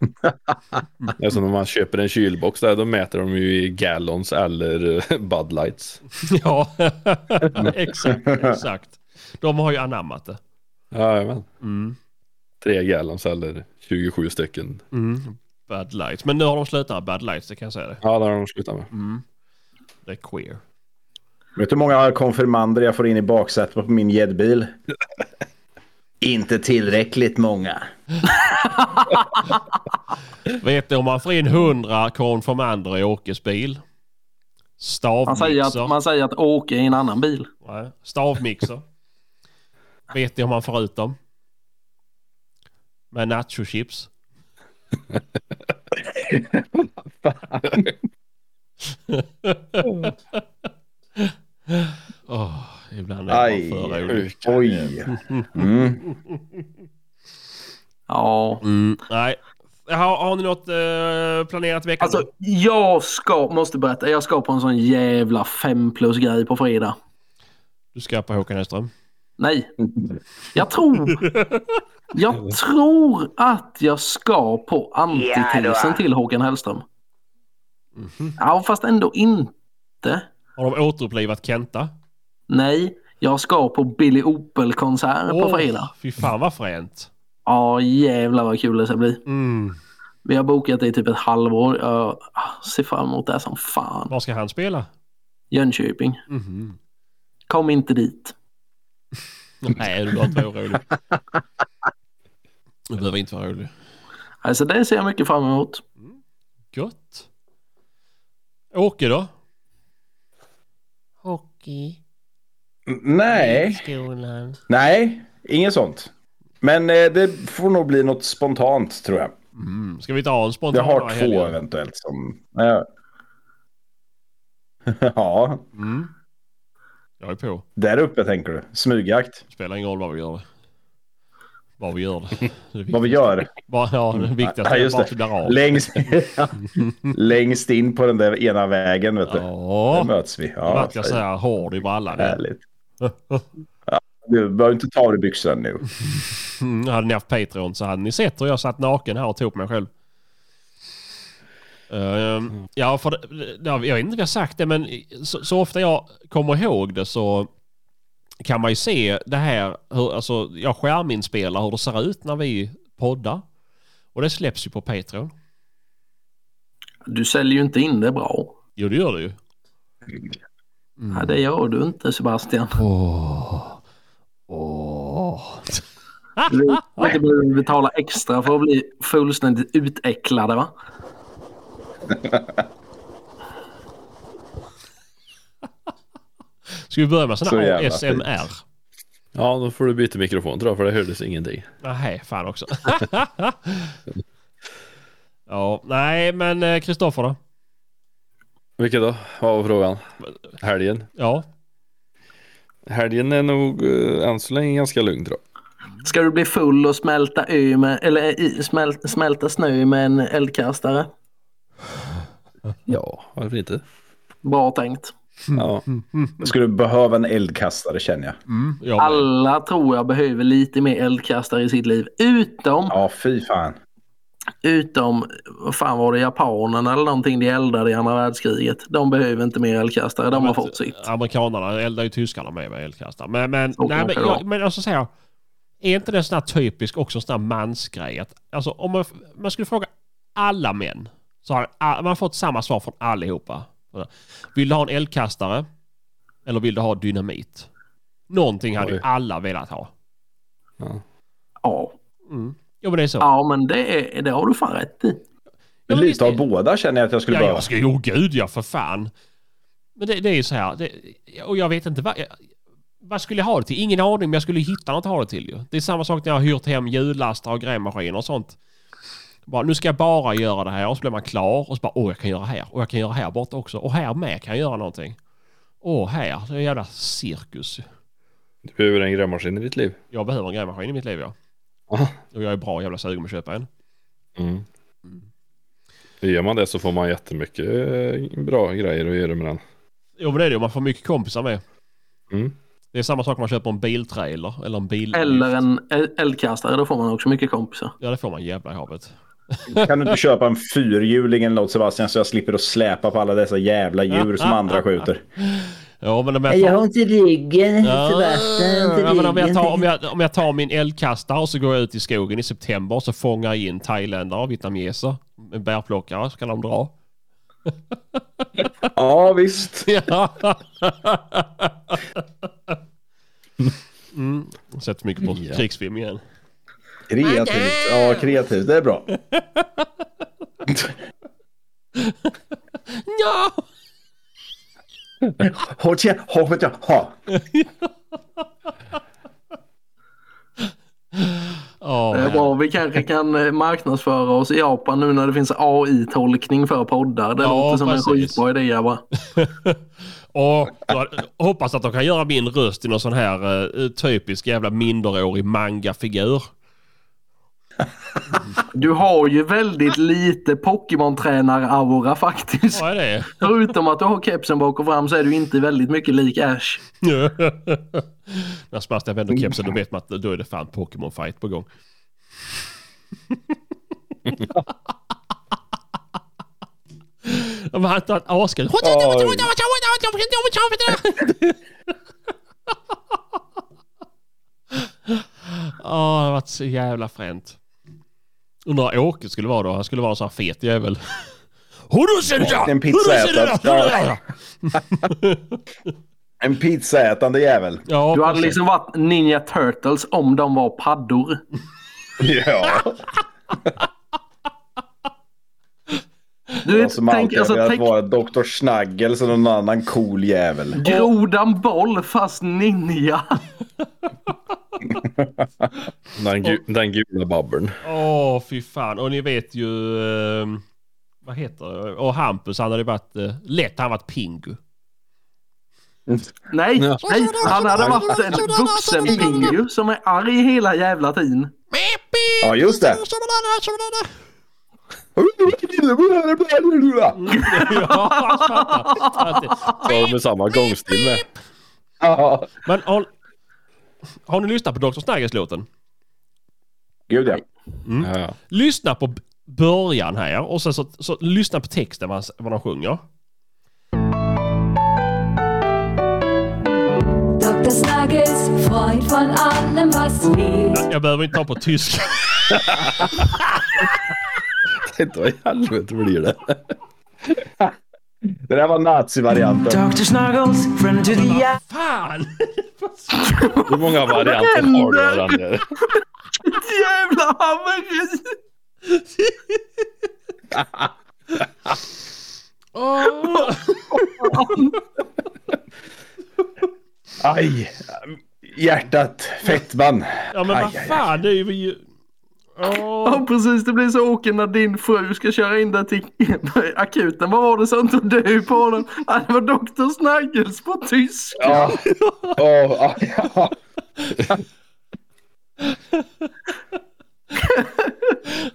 Speaker 5: Det är som när man köper en kylbox där, då mäter de ju i gallons eller eh, Bud Lights.
Speaker 1: ja, exakt, exakt. De har ju anammat det.
Speaker 5: Jajamän.
Speaker 1: Mm.
Speaker 5: Tre gallons eller 27 stycken.
Speaker 1: Mm. Bad Lights. Men nu har de slutat med Bad Lights, det kan jag säga det.
Speaker 5: Ja, där har de slutat med.
Speaker 1: Det är queer.
Speaker 3: Vet du hur många konfirmander jag får in i baksätet på min jedbil? Inte tillräckligt många.
Speaker 1: Vet ni om man får in 100 konfirmander i Åkes bil?
Speaker 2: Man säger,
Speaker 1: Stavmixer.
Speaker 2: att, man säger att åka i en annan bil.
Speaker 1: Nej, Stavmixer. Vet ni om man får ut dem? Med nachochips. Åh, ibland är det
Speaker 3: Aj.
Speaker 1: bara för roligt.
Speaker 3: Oj. Mm.
Speaker 2: Ja.
Speaker 1: Mm, nej. Har, har ni något eh, planerat i veckan?
Speaker 2: Alltså jag ska, måste berätta, jag ska på en sån jävla 5 plus grej på fredag.
Speaker 1: du ska på Håkan Hellström.
Speaker 2: Nej. Jag tror... Jag tror att jag ska på antitesen till Håkan Hellström. Ja, fast ändå inte.
Speaker 1: Har de återupplivat Kenta?
Speaker 2: Nej, jag ska på Billy Opel-konsert på
Speaker 1: Åh,
Speaker 2: fredag.
Speaker 1: Fy fan vad fränt.
Speaker 2: Ja, jävlar vad kul det ska bli.
Speaker 1: Mm.
Speaker 2: Vi har bokat det i typ ett halvår. Jag ah, ser fram emot det här som fan.
Speaker 1: Var ska han spela?
Speaker 2: Jönköping.
Speaker 1: Mhm.
Speaker 2: Kom inte dit.
Speaker 1: Nej, du behöver inte vara orolig. Du behöver inte vara orolig.
Speaker 2: Alltså det ser jag mycket fram emot.
Speaker 1: Gött. Åke då?
Speaker 4: Hockey. i
Speaker 3: Nej,
Speaker 4: Skolan.
Speaker 3: nej, inget sånt. Men eh, det får nog bli något spontant tror jag.
Speaker 1: Mm. Ska vi ta en
Speaker 3: Jag
Speaker 1: spontan
Speaker 3: har
Speaker 1: i
Speaker 3: två
Speaker 1: helgen?
Speaker 3: eventuellt som... Ja. ja,
Speaker 1: Mm. Jag är på.
Speaker 3: där uppe tänker du. Smygjakt.
Speaker 1: Spelar ingen roll vad vi gör. Vad vi gör. Det är
Speaker 3: Vad vi
Speaker 1: viktigt.
Speaker 3: gör.
Speaker 1: Bara, ja, det viktigaste
Speaker 3: Ja,
Speaker 1: är
Speaker 3: just
Speaker 1: bara
Speaker 3: det.
Speaker 1: att vi blir av.
Speaker 3: Längst, längst in på den där ena vägen vet du. Där
Speaker 1: Ja,
Speaker 3: möts vi.
Speaker 1: det
Speaker 3: Ja,
Speaker 1: verkar så här hård i brallan.
Speaker 3: härligt. Ja, du behöver inte ta av dig byxan nu.
Speaker 1: Mm, hade ni haft Patreon så hade ni sett hur jag satt naken här och tog på mig själv.
Speaker 3: Mm.
Speaker 1: Ehm, ja, för det, ja, jag vet inte om jag har sagt det, men så, så ofta jag kommer ihåg det så kan man ju se det här, hur, alltså jag skärminspelar hur det ser ut när vi poddar. Och det släpps ju på Patreon.
Speaker 2: Du säljer ju inte in det bra.
Speaker 1: Jo, det gör det ju.
Speaker 2: Ja, det gör du inte Sebastian.
Speaker 1: Åh. Åh.
Speaker 2: Du har inte behövt betala extra för att bli fullständigt utäcklade va?
Speaker 1: Ska vi börja med sån
Speaker 3: Så
Speaker 1: här
Speaker 3: jävla
Speaker 1: ASMR?
Speaker 5: Ja, då får du byta mikrofon tror jag, för det hördes ingenting.
Speaker 1: Nej, fan också. ja, nej, men eh, Kristoffer då?
Speaker 5: Vilket då? Vad var frågan? Helgen?
Speaker 1: Ja.
Speaker 5: Helgen är nog eh, än så länge ganska lugn tror jag.
Speaker 2: Ska du bli full och smälta, ö med, eller, i- smält, smälta snö med en eldkastare?
Speaker 5: Ja, Mm. varför inte?
Speaker 2: Bra tänkt.
Speaker 5: Ja,
Speaker 3: Jag skulle behöva en eldkastare känner jag.
Speaker 1: Jag med.
Speaker 2: Alla tror jag behöver lite mer eldkastare i sitt liv. Utom,
Speaker 3: Ja, fy fan.
Speaker 2: utom, vad fan var det japanerna eller någonting de eldade i andra världskriget. De behöver inte mer eldkastare. De har fått sitt.
Speaker 1: eh, Amerikanerna eldar ju tyskarna med med eldkastare. Men, men,
Speaker 2: Så
Speaker 1: nej, men,
Speaker 2: kanske det var.
Speaker 1: jag, men alltså så här. Är inte det en sån här typisk också en sån här mansgrej? Att, alltså om man, man skulle fråga alla män så har all, man fått samma svar från allihopa. Vill du ha en eldkastare? Eller vill du ha dynamit? Någonting hade ju
Speaker 5: Oj.
Speaker 1: alla velat ha.
Speaker 2: Ja.
Speaker 1: Mm. Ja men det är så.
Speaker 2: ja, men det, är- det har du fan rätt i.
Speaker 1: Ja, men visst
Speaker 3: Lite
Speaker 1: är-
Speaker 3: av båda känner jag att jag skulle
Speaker 1: Ja,
Speaker 3: behöva.
Speaker 1: jag ska ju, oh, gud ja, för fan. Men det, det är ju så här, det, och jag vet inte vad, jag- vad skulle jag ha det till? Ingen aning, men jag skulle ju hitta något att ha det till ju. Det är samma sak när jag har hyrt hem hjullastare och grävmaskiner och sånt. Bara, nu ska jag bara göra det här och så blir man klar och så bara, åh, jag kan göra här och jag kan göra här borta också och här med kan jag göra någonting. Åh, här, det är en jävla cirkus.
Speaker 5: du behöver en grävmaskin i ditt liv.
Speaker 1: Jag behöver en grävmaskin i mitt liv, ja.
Speaker 5: Ja.
Speaker 1: Och jag är bra jävla sugen på att köpa en.
Speaker 5: Mm. Gör man det så får man jättemycket eh, bra grejer att göra med den.
Speaker 1: Jo, men det är det ju, man får mycket kompisar med.
Speaker 5: Mm.
Speaker 1: Det är samma sak om man köper en biltrailer eller en bil.
Speaker 2: Eller en el- eldkastare, då får man också mycket kompisar.
Speaker 1: Ja, det får man jävla i havet.
Speaker 3: Kan du inte köpa en fyrhjuling eller något Sebastian så jag slipper att släpa på alla dessa jävla djur som andra skjuter?
Speaker 1: Ja, men om jag
Speaker 7: Jag
Speaker 1: tar... Ah,
Speaker 7: har ont i ryggen, Sebastian. jag har ont i
Speaker 1: Ja, men om, jag
Speaker 7: ryggen.
Speaker 1: tar, om, jag, om jag tar min eldkastare och så går jag ut i skogen i september och så fångar jag in thailändare och vietnameser. En bärplockare så kan de dra.
Speaker 3: Ja, visst.
Speaker 1: Ja. Mm. Jag Sett mycket på krigsfilm igen.
Speaker 3: Kreativt. Ja, kreativt. Det är bra.
Speaker 1: Ja!
Speaker 3: Håll tja, håll tja, ha.
Speaker 1: Åh,
Speaker 2: Eh, Bra, vi kanske kan eh, marknadsföra oss i Japan nu när det finns AI-tolkning för poddar. Det
Speaker 1: Ja,
Speaker 2: låter som
Speaker 1: precis.
Speaker 2: en skitbra idé grabbar.
Speaker 1: Och jag hoppas att de kan göra min röst i någon sån här eh, typisk jävla minderårig manga-figur.
Speaker 2: Du har ju väldigt lite Pokémon-tränar-aura faktiskt.
Speaker 1: Vad är det?
Speaker 2: Förutom att du har kepsen bak och fram så är du inte väldigt mycket lik Ash.
Speaker 1: När Sebastian vänder kepsen då vet man att då är det fan Pokémon fight på gång. Ja, men Han tar ett askel. Åh, det har varit så jävla fränt. Undrar Åke skulle vara då. Han skulle vara så här fet jävel. Hodosunda!
Speaker 3: En pizzaätare. Ja. En pizzaätande jävel.
Speaker 1: Ja,
Speaker 2: Du hade
Speaker 1: precis.
Speaker 2: liksom varit Ninja Turtles om de var paddor.
Speaker 3: Ja. Jag
Speaker 2: Du vet,
Speaker 3: som
Speaker 2: tänk,
Speaker 3: alltid
Speaker 2: alltså,
Speaker 3: har velat
Speaker 2: tänk
Speaker 3: vara Dr. Schnaggel som någon annan cool jävel.
Speaker 2: grodan boll fast ninja.
Speaker 5: Den, gu, den gula babbeln.
Speaker 1: Åh, fy fan. Och ni vet ju... Eh, vad heter det? Och Hampus, han hade varit... Eh, lätt han varit Pingu.
Speaker 2: Nej,
Speaker 5: Ja.
Speaker 2: nej, han hade varit en vuxen pingu som är arg hela jävla tiden.
Speaker 3: Ja, just det.
Speaker 1: ja, jag fattar.
Speaker 5: Så med samma gångstil med.
Speaker 3: Ja.
Speaker 1: Men har, har ni lyssnat på Dr. Snaggers-låten?
Speaker 3: Gud ja.
Speaker 5: Ja, ja.
Speaker 1: Lyssna på b- början här och sen så, så lyssna på texten vad, han s- vad de sjunger.
Speaker 8: Dr. Snuggles, Freund von allem, was lebt.
Speaker 1: Jag behöver inte ta på tyska.
Speaker 5: Inte vad i helvete blir det?
Speaker 3: Det där var nazivarianten.
Speaker 9: Dr. Snuggles, friend to the eye.
Speaker 1: Fan!
Speaker 5: Hur många varianter har du av den där?
Speaker 2: Jävla haveri!
Speaker 1: Åh.
Speaker 3: Aj! Hjärtat. Fettman.
Speaker 1: Ja men
Speaker 3: Aj,
Speaker 1: vad
Speaker 3: aj, aj.
Speaker 1: fan, det är ju... Åh.
Speaker 2: Ja precis, det blir så åker när din fru ska köra in dig till akuten. Vad var det som tog du på honom? Ja, det var Dr. Snuggles på tyska.
Speaker 3: Ja. Åh, aj, ja.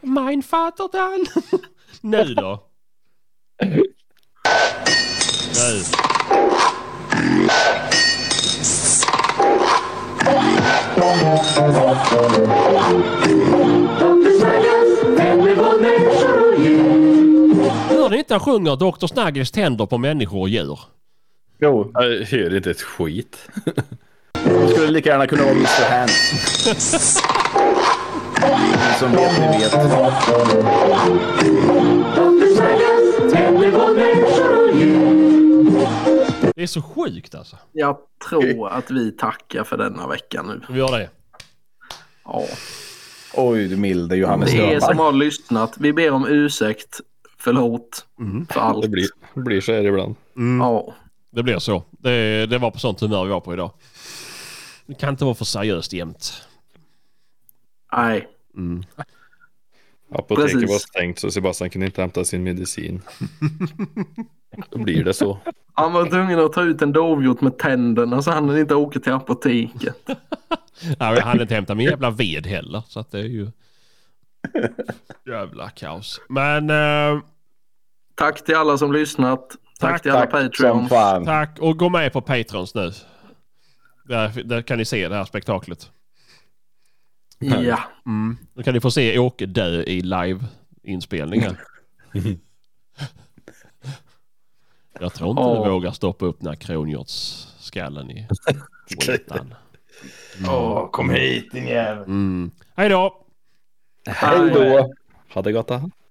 Speaker 1: Mein Vater dann. nu då? nu. Hör ni inte han sjunger Dr. Snaggers tänder på människor och djur?
Speaker 3: Jo,
Speaker 5: Jag hör inte ett skit.
Speaker 3: det skulle lika gärna kunna vara Mr. Hands. Ni Som vet, ni vet.
Speaker 1: Det är så sjukt alltså.
Speaker 2: Jag tror att vi tackar för denna vecka nu.
Speaker 1: Vi gör det.
Speaker 2: Ja.
Speaker 3: Oj, du milde Johannes
Speaker 2: Det är som
Speaker 3: Rönnberg.
Speaker 2: har lyssnat. Vi ber om ursäkt. Förlåt för allt.
Speaker 5: Mm. Det blir, blir så här ibland.
Speaker 2: Ja.
Speaker 1: Det blir så. Det, det var på sånt humör vi var på idag. Det kan inte vara för seriöst jämt.
Speaker 2: Nej.
Speaker 5: Apoteket
Speaker 2: Precis.
Speaker 5: var stängt så Sebastian kunde inte hämta sin medicin. Då blir det så.
Speaker 2: Han var tvungen att ta ut en dovhjort med tänderna så han inte åker till apoteket.
Speaker 1: Nej, Jag hann inte hämta min jävla ved heller. Så att det är ju... Jävla kaos. Men eh,
Speaker 2: Tack till alla som lyssnat. Tack, till alla
Speaker 3: Tack som
Speaker 2: Patreons.
Speaker 3: fan.
Speaker 1: tack och gå med på Patrons nu. Där, där kan ni se det här spektaklet.
Speaker 2: Ja.
Speaker 1: Då kan ni få se Åke dö i liveinspelningar. Jag tror inte
Speaker 2: Ja.
Speaker 1: du vågar stoppa upp den här kronhjortsskallen i skitan.
Speaker 3: Åh, kom hit din jävel.
Speaker 1: Mm. Hej då!
Speaker 3: Hej då.
Speaker 5: Ha det gott. då.